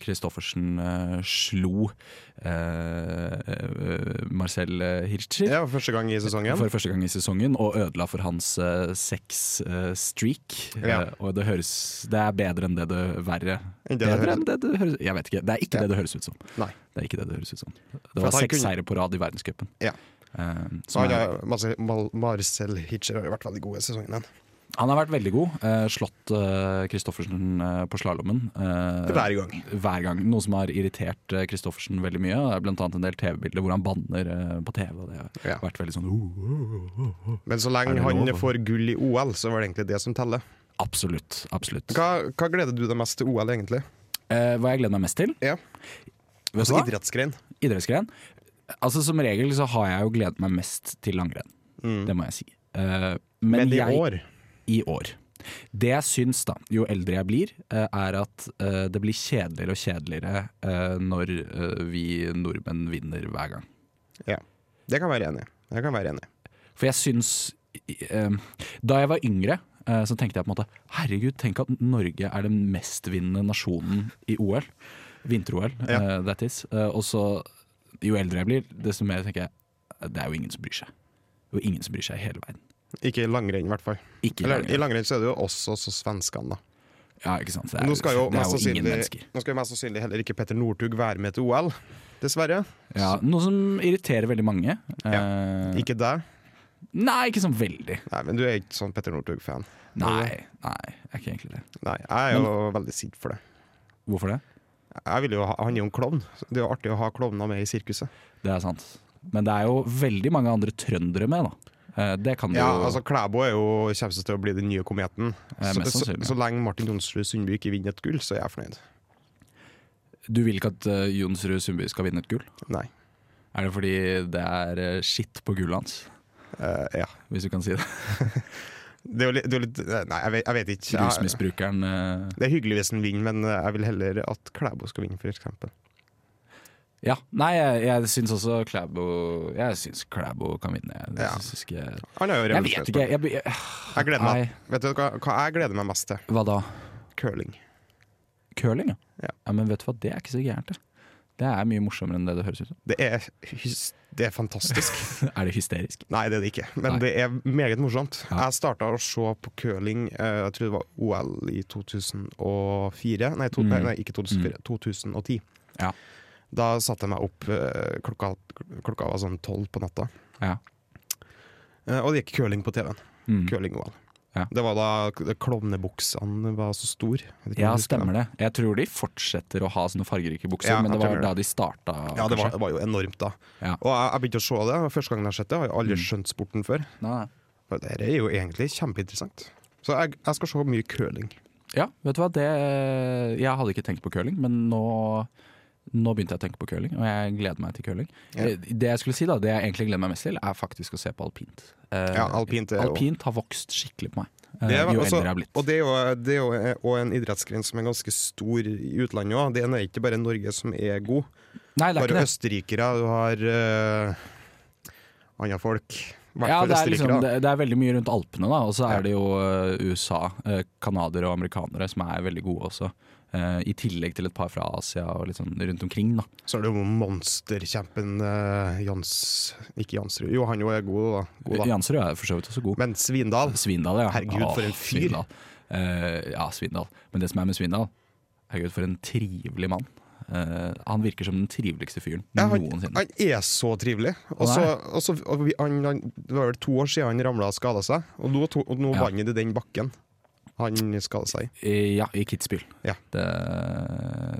[SPEAKER 3] Christoffersen eh, slo eh, eh, Marcel Hirscher.
[SPEAKER 4] Det var første gang i sesongen.
[SPEAKER 3] For første gang i sesongen, og ødela for hans uh, sex-streak.
[SPEAKER 4] Ja.
[SPEAKER 3] Eh, og det høres Det er bedre enn det det verre.
[SPEAKER 4] Enn det det
[SPEAKER 3] bedre
[SPEAKER 4] høres-
[SPEAKER 3] enn det det høres Jeg vet ikke. Det er ikke
[SPEAKER 4] Ja.
[SPEAKER 3] det det høres ut som.
[SPEAKER 4] Nei.
[SPEAKER 3] Det er ikke det det høres ut som. Det
[SPEAKER 4] For
[SPEAKER 3] var
[SPEAKER 4] at han
[SPEAKER 3] seks
[SPEAKER 4] kunne-
[SPEAKER 3] seire på rad i verdenscupen.
[SPEAKER 4] Ja.
[SPEAKER 3] Eh,
[SPEAKER 4] Så
[SPEAKER 3] som
[SPEAKER 4] han
[SPEAKER 3] er,
[SPEAKER 4] har, Marcel- Mal- Marcel Hitcher har jo vært veldig god i sesongen. han.
[SPEAKER 3] Han har vært veldig god. eh, slått eh, Kristoffersen eh, på slalåmen. eh,
[SPEAKER 4] Hver gang.
[SPEAKER 3] hver gang. Noe som har irritert eh, Kristoffersen veldig mye. Det er blant annet en del TV-bilder hvor han banner eh, på TV. Og det har
[SPEAKER 4] Ja.
[SPEAKER 3] vært veldig sånn uh,
[SPEAKER 4] Men så
[SPEAKER 3] Er
[SPEAKER 4] lenge
[SPEAKER 3] det
[SPEAKER 4] han
[SPEAKER 3] lov?
[SPEAKER 4] får gull i OL, så var det egentlig det som teller.
[SPEAKER 3] Absolutt. absolutt.
[SPEAKER 4] Hva, hva gleder du deg mest til OL, egentlig?
[SPEAKER 3] Eh, hva jeg gleder meg mest til?
[SPEAKER 4] Ja.
[SPEAKER 3] Vet du
[SPEAKER 4] Altså
[SPEAKER 3] hva?
[SPEAKER 4] idrettsgren.
[SPEAKER 3] Idrettsgren? Altså Som regel så har jeg jo gledet meg mest til langrenn. Det må jeg si. Eh, men
[SPEAKER 4] Mm. Men i
[SPEAKER 3] jeg,
[SPEAKER 4] år
[SPEAKER 3] i år. Det jeg syns, da, jo eldre jeg blir, eh, er at eh, det blir kjedeligere og kjedeligere eh, når eh, vi nordmenn vinner hver gang.
[SPEAKER 4] Det kan jeg være enig i. Jeg kan være enig. i.
[SPEAKER 3] For jeg syns eh, Da jeg var yngre, eh, så tenkte jeg på en måte Herregud, tenk at Norge er den mestvinnende nasjonen i OL. Vinter-OL, eh, that is. Eh, og så, jo eldre jeg blir, desto mer tenker jeg eh, Det er jo ingen som bryr seg. Det er jo ingen som bryr seg i hele verden.
[SPEAKER 4] Ikke i langrenn, i hvert fall.
[SPEAKER 3] Ikke i
[SPEAKER 4] Eller, I
[SPEAKER 3] verden.
[SPEAKER 4] langrenn så er det jo også så svenskene, da.
[SPEAKER 3] Ja, ikke sant. Det er,
[SPEAKER 4] Nå skal jo
[SPEAKER 3] det er
[SPEAKER 4] mest
[SPEAKER 3] jo ingen
[SPEAKER 4] sannsynlig
[SPEAKER 3] mennesker.
[SPEAKER 4] Nå skal jo mest sannsynlig heller ikke Petter Northug være med til OL, dessverre.
[SPEAKER 3] Ja, noe som irriterer veldig mange. Eh,
[SPEAKER 4] Ikke deg.
[SPEAKER 3] Nei, ikke sånn veldig.
[SPEAKER 4] Nei, men du er ikke sånn Petter Northug-fan.
[SPEAKER 3] Nei, nei, jeg er ikke egentlig det.
[SPEAKER 4] Nei, jeg er jo veldig sint for det.
[SPEAKER 3] Hvorfor det?
[SPEAKER 4] Jeg vil jo ha, Han er jo en klovn. så Det er jo artig å ha klovner med i sirkuset.
[SPEAKER 3] Det er sant. Men det er jo veldig mange andre trøndere med, da. Eh, Det kan du
[SPEAKER 4] Ja,
[SPEAKER 3] jo
[SPEAKER 4] altså Klæbo er jo kommer seg til å bli den nye kometen.
[SPEAKER 3] Eh,
[SPEAKER 4] Så,
[SPEAKER 3] mest
[SPEAKER 4] så,
[SPEAKER 3] sannsynlig.
[SPEAKER 4] så lenge Martin Jonsrud Sundby ikke vinner et gull, så er jeg fornøyd.
[SPEAKER 3] Du vil ikke at eh, Jonsrud Sundby skal vinne et gull?
[SPEAKER 4] Nei.
[SPEAKER 3] Er det fordi det er eh, skitt på gullet hans,
[SPEAKER 4] Eh, ja.
[SPEAKER 3] hvis du kan si det?
[SPEAKER 4] Det er jo litt, det er jo litt Nei, jeg vet, jeg vet ikke. Jeg,
[SPEAKER 3] Rusmisbrukeren eh,
[SPEAKER 4] det er hyggelig hvis han vinner, men jeg vil heller at Klæbo skal vinne, f.eks.
[SPEAKER 3] Ja. Nei, jeg, jeg syns også Klæbo Jeg syns Klæbo kan vinne. Jeg,
[SPEAKER 4] Ja.
[SPEAKER 3] synes ikke, jeg
[SPEAKER 4] Han har jo
[SPEAKER 3] vet
[SPEAKER 4] revolusjonert.
[SPEAKER 3] ikke. Jeg, blir- eh,
[SPEAKER 4] Jeg gleder meg.
[SPEAKER 3] Nei.
[SPEAKER 4] Vet du hva, hva jeg gleder meg mest til?
[SPEAKER 3] hva da?
[SPEAKER 4] Curling.
[SPEAKER 3] Curling, ja.
[SPEAKER 4] Ja.
[SPEAKER 3] ja. Men vet du hva, det er ikke så gærent, det. Det er mye morsommere enn det det høres ut som.
[SPEAKER 4] Det er, hys- det er fantastisk.
[SPEAKER 3] Er det hysterisk?
[SPEAKER 4] Nei, det er det ikke,
[SPEAKER 3] Nei.
[SPEAKER 4] men det er meget morsomt.
[SPEAKER 3] Ja.
[SPEAKER 4] Jeg starta å se på curling, eh, jeg tror det var OL i 2004 Nei, to,
[SPEAKER 3] Mm.
[SPEAKER 4] nei ikke 2004, 2010.
[SPEAKER 3] Ja.
[SPEAKER 4] Da satte jeg meg opp eh, klokka, klokka var sånn tolv på natta,
[SPEAKER 3] Ja.
[SPEAKER 4] Eh, og det gikk curling på TV-en.
[SPEAKER 3] Mm.
[SPEAKER 4] Curling-OL.
[SPEAKER 3] Ja.
[SPEAKER 4] Det var da k- klovnebuksene var så store. Jeg vet ikke om
[SPEAKER 3] Ja,
[SPEAKER 4] du husker
[SPEAKER 3] stemmer det. Jeg tror de fortsetter å ha sånne fargerike bukser,
[SPEAKER 4] Ja,
[SPEAKER 3] men det
[SPEAKER 4] jeg
[SPEAKER 3] var
[SPEAKER 4] tror det.
[SPEAKER 3] da de starta.
[SPEAKER 4] Ja, det var,
[SPEAKER 3] kanskje.
[SPEAKER 4] det var jo enormt, da.
[SPEAKER 3] Ja. Mm.
[SPEAKER 4] Og jeg, jeg begynte å se det. og Første gangen jeg har sett det, har jeg aldri skjønt sporten før.
[SPEAKER 3] Nei, nei.
[SPEAKER 4] Og Dette er jo egentlig kjempeinteressant. Så jeg, jeg skal se mye curling.
[SPEAKER 3] Ja, vet du hva. Det, jeg hadde ikke tenkt på curling, men nå, nå begynte jeg å tenke på curling, og jeg gleder meg til curling.
[SPEAKER 4] Ja.
[SPEAKER 3] Eh, Det jeg skulle si da, det jeg egentlig gleder meg mest til, er faktisk å se på alpint. Eh,
[SPEAKER 4] Ja, alpint er jo-
[SPEAKER 3] alpint har vokst skikkelig på meg, eh,
[SPEAKER 4] Det er-
[SPEAKER 3] jo
[SPEAKER 4] altså,
[SPEAKER 3] eldre jeg har blitt.
[SPEAKER 4] Og det er jo, det er jo også en idrettsgren som er ganske stor i utlandet òg. Det er ikke bare Norge som er god.
[SPEAKER 3] Nei, det er
[SPEAKER 4] Bare
[SPEAKER 3] ikke det.
[SPEAKER 4] østerrikere, du har uh, andre folk. I hvert
[SPEAKER 3] Ja,
[SPEAKER 4] fall
[SPEAKER 3] det, er liksom,
[SPEAKER 4] østerrikere.
[SPEAKER 3] det, det er veldig mye rundt Alpene, da. Og så
[SPEAKER 4] Ja.
[SPEAKER 3] er det jo eh, USA, eh, canadiere og amerikanere som er veldig gode også. Eh, I tillegg til et par fra Asia og litt sånn rundt omkring, da.
[SPEAKER 4] Så er det jo monsterkjempen eh, Jans Ikke Jansrud. Jo, han jo er god, da. god da.
[SPEAKER 3] Jansrud er for så vidt også god.
[SPEAKER 4] Men Svindal
[SPEAKER 3] Svindal, ja.
[SPEAKER 4] Herregud,
[SPEAKER 3] Åh,
[SPEAKER 4] for en fyr.
[SPEAKER 3] Svindal. Eh, ja, Svindal. Men det som er med Svindal Herregud, for en trivelig mann. Eh, han virker som den triveligste fyren
[SPEAKER 4] Ja, han,
[SPEAKER 3] noensinne.
[SPEAKER 4] han er så trivelig. Og
[SPEAKER 3] Han
[SPEAKER 4] så,
[SPEAKER 3] er
[SPEAKER 4] og så og vi, han, han, Det var vel to år siden han ramla og skada seg, og nå, to, og nå
[SPEAKER 3] Ja.
[SPEAKER 4] vant det den bakken han skada seg i.
[SPEAKER 3] Eh, ja, i Kitzbühel.
[SPEAKER 4] Ja.
[SPEAKER 3] Det,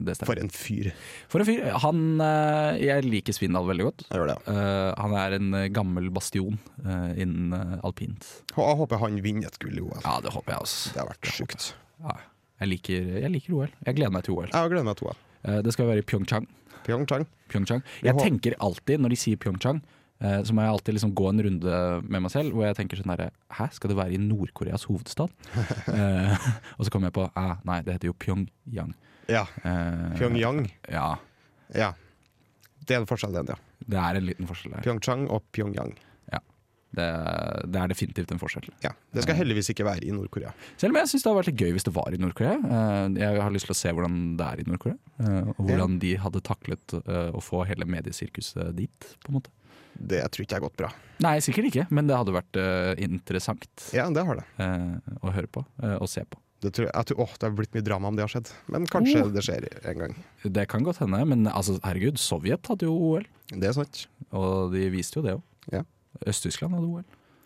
[SPEAKER 3] det stemmer.
[SPEAKER 4] For en fyr.
[SPEAKER 3] For, en fyr. Han eh, Jeg liker Svindal veldig godt.
[SPEAKER 4] Jeg gjør det.
[SPEAKER 3] Eh, han er en eh, gammel bastion eh, innen eh, alpint.
[SPEAKER 4] Og Jeg håper han vinner et gull i OL.
[SPEAKER 3] Ja, det håper jeg også.
[SPEAKER 4] Det har vært sjukt.
[SPEAKER 3] Ja. Jeg, liker, jeg liker OL. Jeg gleder meg til OL.
[SPEAKER 4] Jeg gleder meg til OL.
[SPEAKER 3] Eh, det skal være i Pyeongchang.
[SPEAKER 4] Pyeongchang.
[SPEAKER 3] Pyeongchang. Jeg
[SPEAKER 4] hå-
[SPEAKER 3] tenker alltid, når de sier Pyeongchang, eh, så må jeg alltid liksom gå en runde med meg selv hvor jeg tenker sånn herre Hæ, skal det være i Nord-Koreas hovedstad? Eh, og så kom jeg på eh, Nei, det heter jo Pyongyang.
[SPEAKER 4] Ja.
[SPEAKER 3] Eh,
[SPEAKER 4] Pyongyang.
[SPEAKER 3] Ja.
[SPEAKER 4] Ja. Det er en forskjell, den, ja.
[SPEAKER 3] Det er en liten forskjell der.
[SPEAKER 4] Pyeongchang og Pyongyang.
[SPEAKER 3] Det, det er definitivt en forskjell.
[SPEAKER 4] Ja. Det skal heldigvis ikke være i Nord-Korea.
[SPEAKER 3] Selv om jeg syns det hadde vært litt gøy hvis det var i Nord-Korea. Eh, jeg har lyst til å se hvordan det er i Nord-Korea. eh, og hvordan de hadde taklet eh, å få hele mediesirkuset dit, på en måte.
[SPEAKER 4] Det tror ikke jeg har gått bra.
[SPEAKER 3] Nei, sikkert ikke, men det hadde vært eh, interessant
[SPEAKER 4] Ja, det har det.
[SPEAKER 3] eh, å høre på eh, og se på.
[SPEAKER 4] Det, tror jeg, jeg tror, åh, det har blitt mye drama om det har skjedd. Men kanskje
[SPEAKER 3] Oh.
[SPEAKER 4] det skjer en gang.
[SPEAKER 3] Det kan godt hende, men altså, herregud, Sovjet hadde jo OL.
[SPEAKER 4] Det er sant.
[SPEAKER 3] Og de viste jo det òg.
[SPEAKER 4] Ja.
[SPEAKER 3] Øst-Tyskland hadde OL.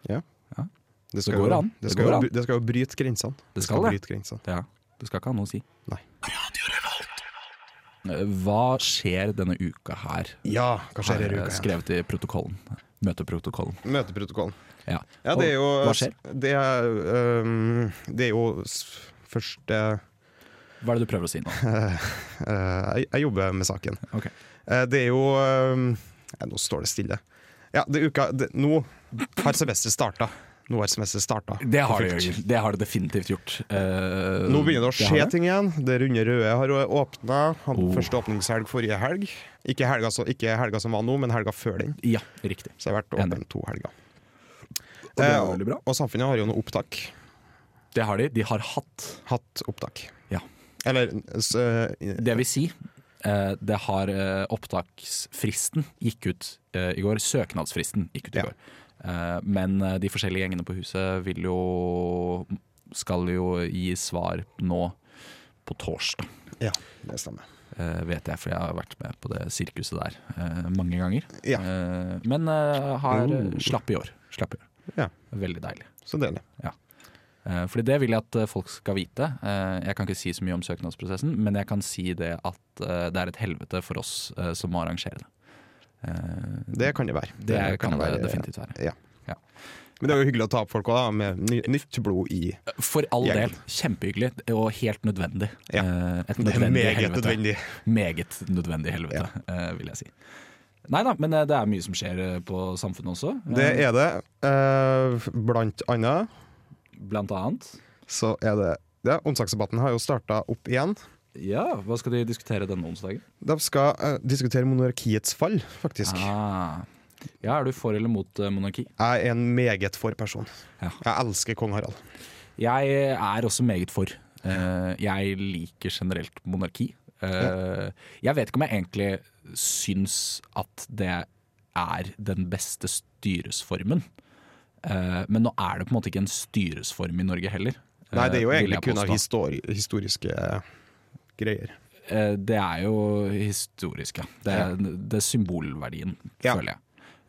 [SPEAKER 4] Det, skal
[SPEAKER 3] går
[SPEAKER 4] jo,
[SPEAKER 3] an.
[SPEAKER 4] Det
[SPEAKER 3] Det
[SPEAKER 4] skal,
[SPEAKER 3] går
[SPEAKER 4] jo,
[SPEAKER 3] an.
[SPEAKER 4] bry- det skal jo bryte grensene.
[SPEAKER 3] Det skal det.
[SPEAKER 4] bryte grensene.
[SPEAKER 3] Ja, det skal ikke ha noe å si.
[SPEAKER 4] Nei.
[SPEAKER 3] Eh, Hva skjer denne uka her?
[SPEAKER 4] Ja, hva skjer i
[SPEAKER 3] Har, eh,
[SPEAKER 4] uka? her?
[SPEAKER 3] Skrevet i protokollen. Møteprotokollen.
[SPEAKER 4] Møteprotokollen.
[SPEAKER 3] Ja.
[SPEAKER 4] Ja, det er jo
[SPEAKER 3] Hva skjer?
[SPEAKER 4] Det er, øhm, det er jo s- første
[SPEAKER 3] Hva er det du prøver å si nå?
[SPEAKER 4] øh, jeg, jeg jobber med saken.
[SPEAKER 3] Ok.
[SPEAKER 4] Eh, det er jo øhm, ja, Nå står det stille. Ja, det er uka det, Nå har semesteret starta. Nå har semesteret starta.
[SPEAKER 3] Det har det,
[SPEAKER 4] For fullt.
[SPEAKER 3] Jørgen. Det har det definitivt gjort. Eh,
[SPEAKER 4] Nå
[SPEAKER 3] Mm.
[SPEAKER 4] begynner det å skje ting igjen. Det runde røde har åpna.
[SPEAKER 3] Oh.
[SPEAKER 4] Første åpningshelg forrige helg. Ikke helga, så, ikke helga som var nå, men helga før den.
[SPEAKER 3] Ja, riktig.
[SPEAKER 4] Så jeg har vært
[SPEAKER 3] Enig.
[SPEAKER 4] åpen to helger.
[SPEAKER 3] det er
[SPEAKER 4] Eh,
[SPEAKER 3] veldig bra.
[SPEAKER 4] og samfunnet har jo noe opptak.
[SPEAKER 3] Det har de. De har hatt.
[SPEAKER 4] Hatt opptak.
[SPEAKER 3] Ja.
[SPEAKER 4] Eller s- eh,
[SPEAKER 3] Det vil si, eh, det har eh, opptaksfristen gikk ut eh, i går. Søknadsfristen gikk ut i
[SPEAKER 4] Ja.
[SPEAKER 3] går. Eh, Men eh, de forskjellige gjengene på huset vil jo skal jo gi svar nå på torsdag.
[SPEAKER 4] Ja, det stemmer.
[SPEAKER 3] Eh, vet jeg, for jeg har vært med på det sirkuset der eh, mange ganger.
[SPEAKER 4] Ja.
[SPEAKER 3] Eh, men eh, har
[SPEAKER 4] Oh.
[SPEAKER 3] slapp i år. Slapp i år.
[SPEAKER 4] Ja.
[SPEAKER 3] Veldig deilig.
[SPEAKER 4] Så deilig.
[SPEAKER 3] Eh, Fordi det vil jeg at eh, folk skal vite. Eh, Jeg kan ikke si så mye om søknadsprosessen, men jeg kan si det at eh, det er et helvete for oss eh, som må arrangere det. Eh,
[SPEAKER 4] Det kan det være.
[SPEAKER 3] Det kan det definitivt være.
[SPEAKER 4] Men det er jo hyggelig å ta opp folk også, da, med ny, nytt blod i
[SPEAKER 3] For all
[SPEAKER 4] Jeg-
[SPEAKER 3] del, kjempehyggelig og helt nødvendig.
[SPEAKER 4] Ja.
[SPEAKER 3] Eh, Et
[SPEAKER 4] Det er
[SPEAKER 3] nødvendig
[SPEAKER 4] meget
[SPEAKER 3] helvete.
[SPEAKER 4] nødvendig.
[SPEAKER 3] Meget nødvendig helvete, eh, vil jeg si. Nei da, men eh, det er mye som skjer eh, på samfunnet også. Eh,
[SPEAKER 4] Det er det. Eh, blant annet
[SPEAKER 3] Eh, Blant annet.
[SPEAKER 4] så er det ja, Onsdagsdebatten har jo starta opp igjen.
[SPEAKER 3] Ja, hva skal de diskutere denne onsdagen?
[SPEAKER 4] De skal eh, diskutere monarkiets fall, faktisk.
[SPEAKER 3] Ah. Ja, er du for eller mot eh, monarki?
[SPEAKER 4] Jeg er en meget for person.
[SPEAKER 3] Ja.
[SPEAKER 4] Jeg elsker kong Harald.
[SPEAKER 3] Jeg er også meget for. Eh, jeg liker generelt monarki. Eh, Jeg vet ikke om jeg egentlig syns at det er den beste styresformen. Eh, men nå er det på en måte ikke en styresform i Norge heller. eh,
[SPEAKER 4] Nei, det er jo
[SPEAKER 3] vil
[SPEAKER 4] egentlig
[SPEAKER 3] jeg
[SPEAKER 4] kun av
[SPEAKER 3] påstå.
[SPEAKER 4] histori historiske eh, greier.
[SPEAKER 3] Eh, Det er jo historisk, ja. Det er, det er symbolverdien,
[SPEAKER 4] Ja.
[SPEAKER 3] føler jeg.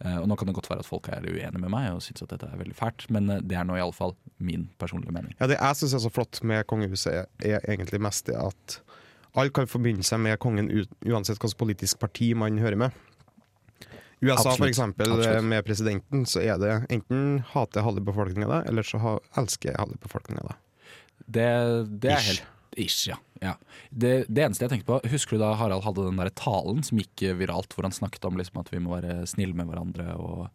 [SPEAKER 3] Eh, Og nå kan det godt være at folk er uenige med meg og syns at dette er veldig fælt, men eh, det er nå iallfall min personlige mening.
[SPEAKER 4] Ja, Det jeg syns er så flott med kongehuset, er, er egentlig mest det at alle kan forbinde seg med kongen ut, uansett hvilket politisk parti man hører med. USA,
[SPEAKER 3] Absolutt.
[SPEAKER 4] for eksempel, eh,
[SPEAKER 3] Absolutt.
[SPEAKER 4] med presidenten, så er det enten hater halve befolkninga deg, eller så ha, elsker halve befolkninga deg.
[SPEAKER 3] Det, det er
[SPEAKER 4] Ish.
[SPEAKER 3] helt Ish, ja. ja. Det, det eneste jeg tenkte på, husker du da Harald hadde den der talen som gikk eh, viralt, hvor han snakket om liksom at vi må være snille med hverandre og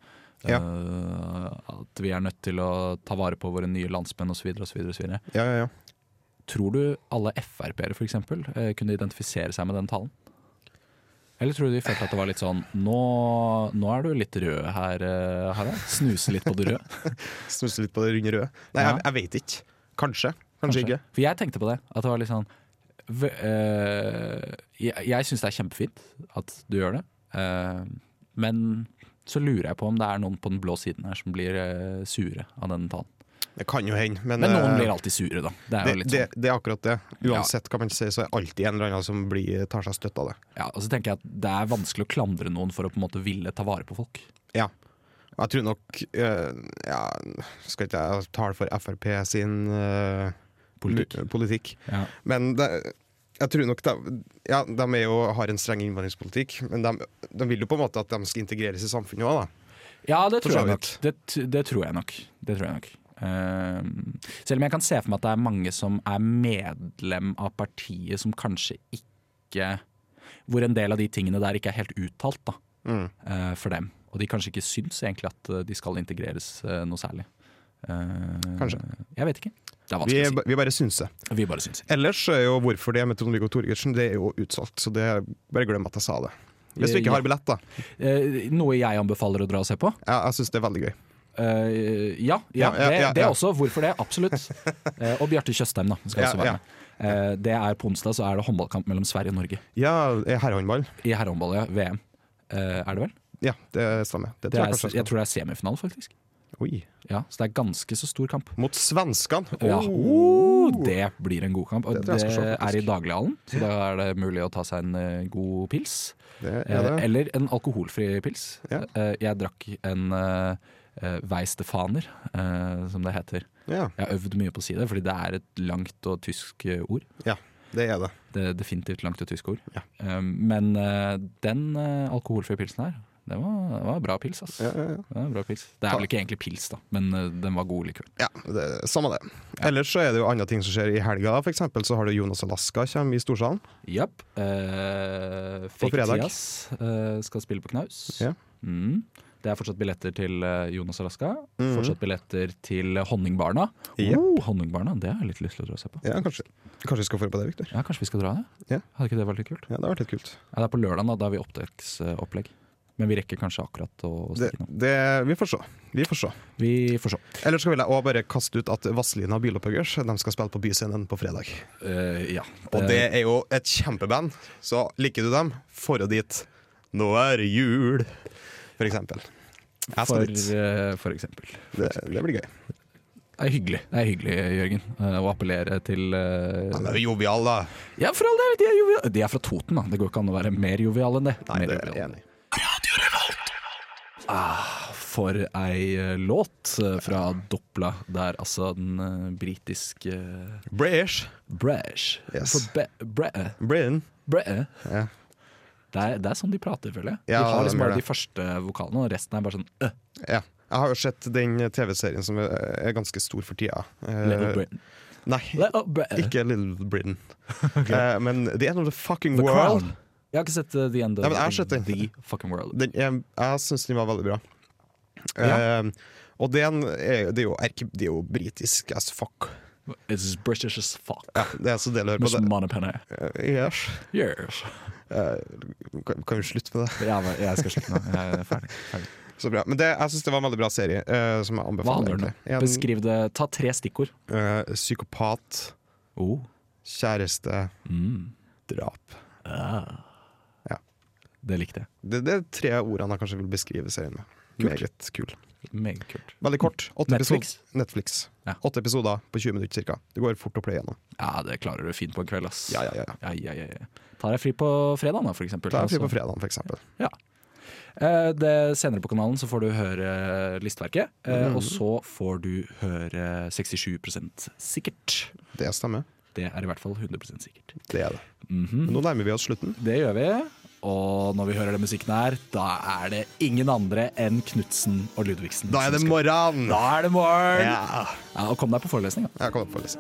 [SPEAKER 4] Ja.
[SPEAKER 3] eh, at vi er nødt til å ta vare på våre nye landsmenn osv. osv.
[SPEAKER 4] Ja, ja, ja.
[SPEAKER 3] Tror du alle Frp-ere for eksempel, eh, kunne identifisere seg med den talen? Eller tror du de følte at det var litt sånn Nå, nå er du litt rød her, eh, Harald. Snuse litt på det røde.
[SPEAKER 4] Snusse litt på det runde røde. Nei,
[SPEAKER 3] Ja.
[SPEAKER 4] jeg, jeg veit ikke. Kanskje. Kanskje, ikke.
[SPEAKER 3] For jeg tenkte på det. At det var litt sånn v eh, Jeg, jeg syns det er kjempefint at du gjør det, eh, men så lurer jeg på om det er noen på den blå siden her som blir eh, sure av den talen.
[SPEAKER 4] Det kan jo hende, men,
[SPEAKER 3] Men noen
[SPEAKER 4] eh,
[SPEAKER 3] blir alltid sure, da. Det er
[SPEAKER 4] det,
[SPEAKER 3] jo litt
[SPEAKER 4] det,
[SPEAKER 3] sånn.
[SPEAKER 4] det er akkurat det. Uansett hva man sier, så er det alltid en eller annen som blir, tar seg støtte av det.
[SPEAKER 3] Ja, og så tenker jeg at det er vanskelig å klandre noen for å på en måte ville ta vare på folk.
[SPEAKER 4] Ja. Jeg tror nok eh, ja, Skal ikke jeg tale for Frp sin eh,
[SPEAKER 3] Politikk.
[SPEAKER 4] mu- politikk.
[SPEAKER 3] Ja.
[SPEAKER 4] Men det, jeg tror nok de, ja, de er jo, har en streng innvandringspolitikk, men de, de vil jo på en måte at de skal integreres i samfunnet òg, da.
[SPEAKER 3] Ja, det
[SPEAKER 4] For
[SPEAKER 3] tror
[SPEAKER 4] så
[SPEAKER 3] jeg nok.
[SPEAKER 4] vidt.
[SPEAKER 3] Det, t- det tror jeg nok. Det tror jeg nok. Ehm, selv om jeg kan se for meg at det er mange som er medlem av partiet som kanskje ikke Hvor en del av de tingene der ikke er helt uttalt da,
[SPEAKER 4] Mm.
[SPEAKER 3] eh, for dem. Og de kanskje ikke syns egentlig at eh, de skal integreres eh, noe særlig. Eh,
[SPEAKER 4] Kanskje.
[SPEAKER 3] Jeg vet ikke. Det er
[SPEAKER 4] Vi,
[SPEAKER 3] vanskelig å
[SPEAKER 4] vi bare syns det.
[SPEAKER 3] si. Vi bare syns.
[SPEAKER 4] Ellers er jo hvorfor det med Trond-Viggo Torgersen, det er jo utsolgt, så det bare glem at jeg sa det. Hvis du
[SPEAKER 3] Ja.
[SPEAKER 4] ikke har billett, da.
[SPEAKER 3] Eh, noe jeg anbefaler å dra og se på.
[SPEAKER 4] Jeg, jeg syns det er veldig gøy.
[SPEAKER 3] Eh, ja, ja,
[SPEAKER 4] Ja, ja,
[SPEAKER 3] det,
[SPEAKER 4] ja,
[SPEAKER 3] det
[SPEAKER 4] ja.
[SPEAKER 3] også. Hvorfor det? Absolutt. Eh, og Bjarte Tjøstheim da, skal
[SPEAKER 4] Ja,
[SPEAKER 3] også være
[SPEAKER 4] ja.
[SPEAKER 3] med. Eh, det er På onsdag så er det håndballkamp mellom Sverige og Norge.
[SPEAKER 4] Ja, eh, herrehåndball.
[SPEAKER 3] I herrehåndball, ja. VM. Eh, er det vel?
[SPEAKER 4] Ja, det stemmer. Det
[SPEAKER 3] Det
[SPEAKER 4] tror
[SPEAKER 3] er,
[SPEAKER 4] jeg kanskje
[SPEAKER 3] jeg
[SPEAKER 4] jeg skal.
[SPEAKER 3] tror det er semifinale, faktisk.
[SPEAKER 4] Oi.
[SPEAKER 3] Ja, Så det er ganske så stor kamp.
[SPEAKER 4] Mot svenskene!
[SPEAKER 3] Ja.
[SPEAKER 4] Uh.
[SPEAKER 3] Oh, det blir en god kamp. Og
[SPEAKER 4] Det
[SPEAKER 3] det,
[SPEAKER 4] tror jeg jeg skal se,
[SPEAKER 3] er
[SPEAKER 4] faktisk.
[SPEAKER 3] i Daglighallen, så da er det mulig å ta seg en eh, god pils.
[SPEAKER 4] Det
[SPEAKER 3] Eh,
[SPEAKER 4] er det.
[SPEAKER 3] eller en alkoholfri pils.
[SPEAKER 4] Ja.
[SPEAKER 3] Eh, jeg drakk en eh, eh, veistefaner, eh, som det heter.
[SPEAKER 4] Ja,
[SPEAKER 3] Jeg har øvd mye på å si det, fordi det er et langt og tysk eh, ord.
[SPEAKER 4] det er det.
[SPEAKER 3] Det er definitivt langt og tysk ord.
[SPEAKER 4] Ja.
[SPEAKER 3] Eh, men eh, den eh, alkoholfrie pilsen her, det var, det var bra pils, ass.
[SPEAKER 4] Ja, ja, ja.
[SPEAKER 3] Det, var bra pils. det er vel ikke egentlig pils, da, men eh, den var god likevel.
[SPEAKER 4] Ja, det, samme det. Ellers så er det jo andre ting som skjer i helga. For eksempel så har du Jonas Alaska kommer i Storsalen.
[SPEAKER 3] Japp. Eh, Fake
[SPEAKER 4] fredag.
[SPEAKER 3] Tias eh, skal spille på knaus.
[SPEAKER 4] Ja.
[SPEAKER 3] Mm. Det er fortsatt billetter til eh, Jonas Alaska.
[SPEAKER 4] Mhm.
[SPEAKER 3] Fortsatt billetter til Honningbarna.
[SPEAKER 4] Ja.
[SPEAKER 3] Oh, Honningbarna, Det har jeg litt lyst til å dra og se på.
[SPEAKER 4] Ja, kanskje, kanskje vi skal få på det, Victor.
[SPEAKER 3] Ja, Kanskje vi skal dra det?
[SPEAKER 4] Ja.
[SPEAKER 3] Hadde ikke det vært litt kult?
[SPEAKER 4] Ja, det har vært litt kult.
[SPEAKER 3] Ja, det er på lørdag, da. Da har vi opptaksopplegg. Men vi rekker kanskje akkurat å å
[SPEAKER 4] Det,
[SPEAKER 3] stikke innom.
[SPEAKER 4] det, vi får se. Vi får se.
[SPEAKER 3] Vi får se.
[SPEAKER 4] Ellers så vil jeg også bare kaste ut at Vazelina Bilopphøggers de skal spille på Byscenen på fredag.
[SPEAKER 3] Eh, ja.
[SPEAKER 4] Og det er jo et kjempeband, så liker du dem, for og dit. Nå er det jul, for eksempel. Jeg skal
[SPEAKER 3] for,
[SPEAKER 4] dit.
[SPEAKER 3] eh, for eksempel.
[SPEAKER 4] Det, det blir gøy.
[SPEAKER 3] Det er hyggelig, det er hyggelig, Jørgen, eh, å appellere til eh,
[SPEAKER 4] Han er jo jovial, da.
[SPEAKER 3] Ja, for all del, de er joviale. De er fra Toten, da. Det går ikke an å være mer jovial enn det.
[SPEAKER 4] Nei,
[SPEAKER 3] Mer
[SPEAKER 4] det er jeg
[SPEAKER 3] jovial.
[SPEAKER 4] enig i.
[SPEAKER 3] For ei eh, låt eh, fra Doppla, der altså den eh, britiske
[SPEAKER 4] British.
[SPEAKER 3] Brash
[SPEAKER 4] Yes.
[SPEAKER 3] For be, bre, eh,
[SPEAKER 4] Britain.
[SPEAKER 3] bre, eh.
[SPEAKER 4] Ja.
[SPEAKER 3] det, er, det er sånn de prater, føler jeg.
[SPEAKER 4] Ja,
[SPEAKER 3] de har
[SPEAKER 4] de
[SPEAKER 3] liksom
[SPEAKER 4] gjør
[SPEAKER 3] bare
[SPEAKER 4] det.
[SPEAKER 3] de første vokalene, og resten er bare sånn eh,
[SPEAKER 4] Ja. Jeg har jo sett den TV-serien som er er ganske stor for tida. Eh,
[SPEAKER 3] Little Britain.
[SPEAKER 4] Nei,
[SPEAKER 3] Little Britain.
[SPEAKER 4] ikke Little Britain. Eh, men The End of the Fucking
[SPEAKER 3] The
[SPEAKER 4] World.
[SPEAKER 3] Crown. Jeg har ikke sett eh, The End of
[SPEAKER 4] Nei, men jeg har sett den.
[SPEAKER 3] The Fucking World.
[SPEAKER 4] Den, jeg jeg syns den var veldig bra.
[SPEAKER 3] Ja.
[SPEAKER 4] Eh, og den er, det, er jo erke, det er jo britisk as fuck.
[SPEAKER 3] It's British as fuck.
[SPEAKER 4] Ja, det er så det du hører på.
[SPEAKER 3] Miss
[SPEAKER 4] Det.
[SPEAKER 3] Moneypenny.
[SPEAKER 4] Eh, Yes.
[SPEAKER 3] Yes.
[SPEAKER 4] Eh, kan, kan vi slutte med det?
[SPEAKER 3] Ja, men jeg skal slutte nå. Jeg er ferdig. ferdig.
[SPEAKER 4] Så bra. Men det, jeg syns det var en veldig bra serie. eh, som jeg
[SPEAKER 3] Hva
[SPEAKER 4] anbefaler.
[SPEAKER 3] handler den om?
[SPEAKER 4] egentlig.
[SPEAKER 3] Beskriv det. Ta tre stikkord.
[SPEAKER 4] En eh, psykopat,
[SPEAKER 3] Oh.
[SPEAKER 4] kjæreste,
[SPEAKER 3] Mm. Ah.
[SPEAKER 4] drap. Ja.
[SPEAKER 3] Det likte jeg.
[SPEAKER 4] Det, det er tre ordene jeg kanskje vil beskrive serien med. Meget kul.
[SPEAKER 3] Meget kult.
[SPEAKER 4] Veldig kort. Åtte
[SPEAKER 3] Netflix?
[SPEAKER 4] episoder- Netflix.
[SPEAKER 3] Ja.
[SPEAKER 4] Åtte episoder på 20 minutter ca. Det går fort å play gjennom.
[SPEAKER 3] Ja, det klarer du fint på en kveld, ass.
[SPEAKER 4] Ja, ja, ja, ja.
[SPEAKER 3] Ja, ja, ja, ja. Ta deg fri på fredag, da, for eksempel.
[SPEAKER 4] Da er vi på
[SPEAKER 3] Altså,
[SPEAKER 4] fredagen, for eksempel.
[SPEAKER 3] eh, det, senere på kanalen så får du høre listverket, eh, og så får du høre 67 sikkert.
[SPEAKER 4] Det stemmer.
[SPEAKER 3] Det er i hvert fall 100 sikkert.
[SPEAKER 4] Det er det.
[SPEAKER 3] Mhm.
[SPEAKER 4] Men nå nærmer vi oss slutten.
[SPEAKER 3] Det gjør vi. Og når vi hører den musikken her, da er det ingen andre enn Knutsen og Ludvigsen.
[SPEAKER 4] Da er det
[SPEAKER 3] som skal-
[SPEAKER 4] morgen!
[SPEAKER 3] Da er det morgen! Ja.
[SPEAKER 4] Ja.
[SPEAKER 3] og kom deg på forelesning, da.
[SPEAKER 4] Jeg kommer på å lese.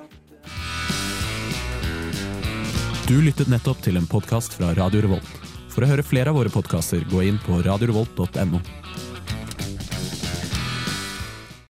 [SPEAKER 9] Du lyttet nettopp til en podkast fra Radio Revolt. For å høre flere av våre podkaster, gå inn på radiorevolt.no.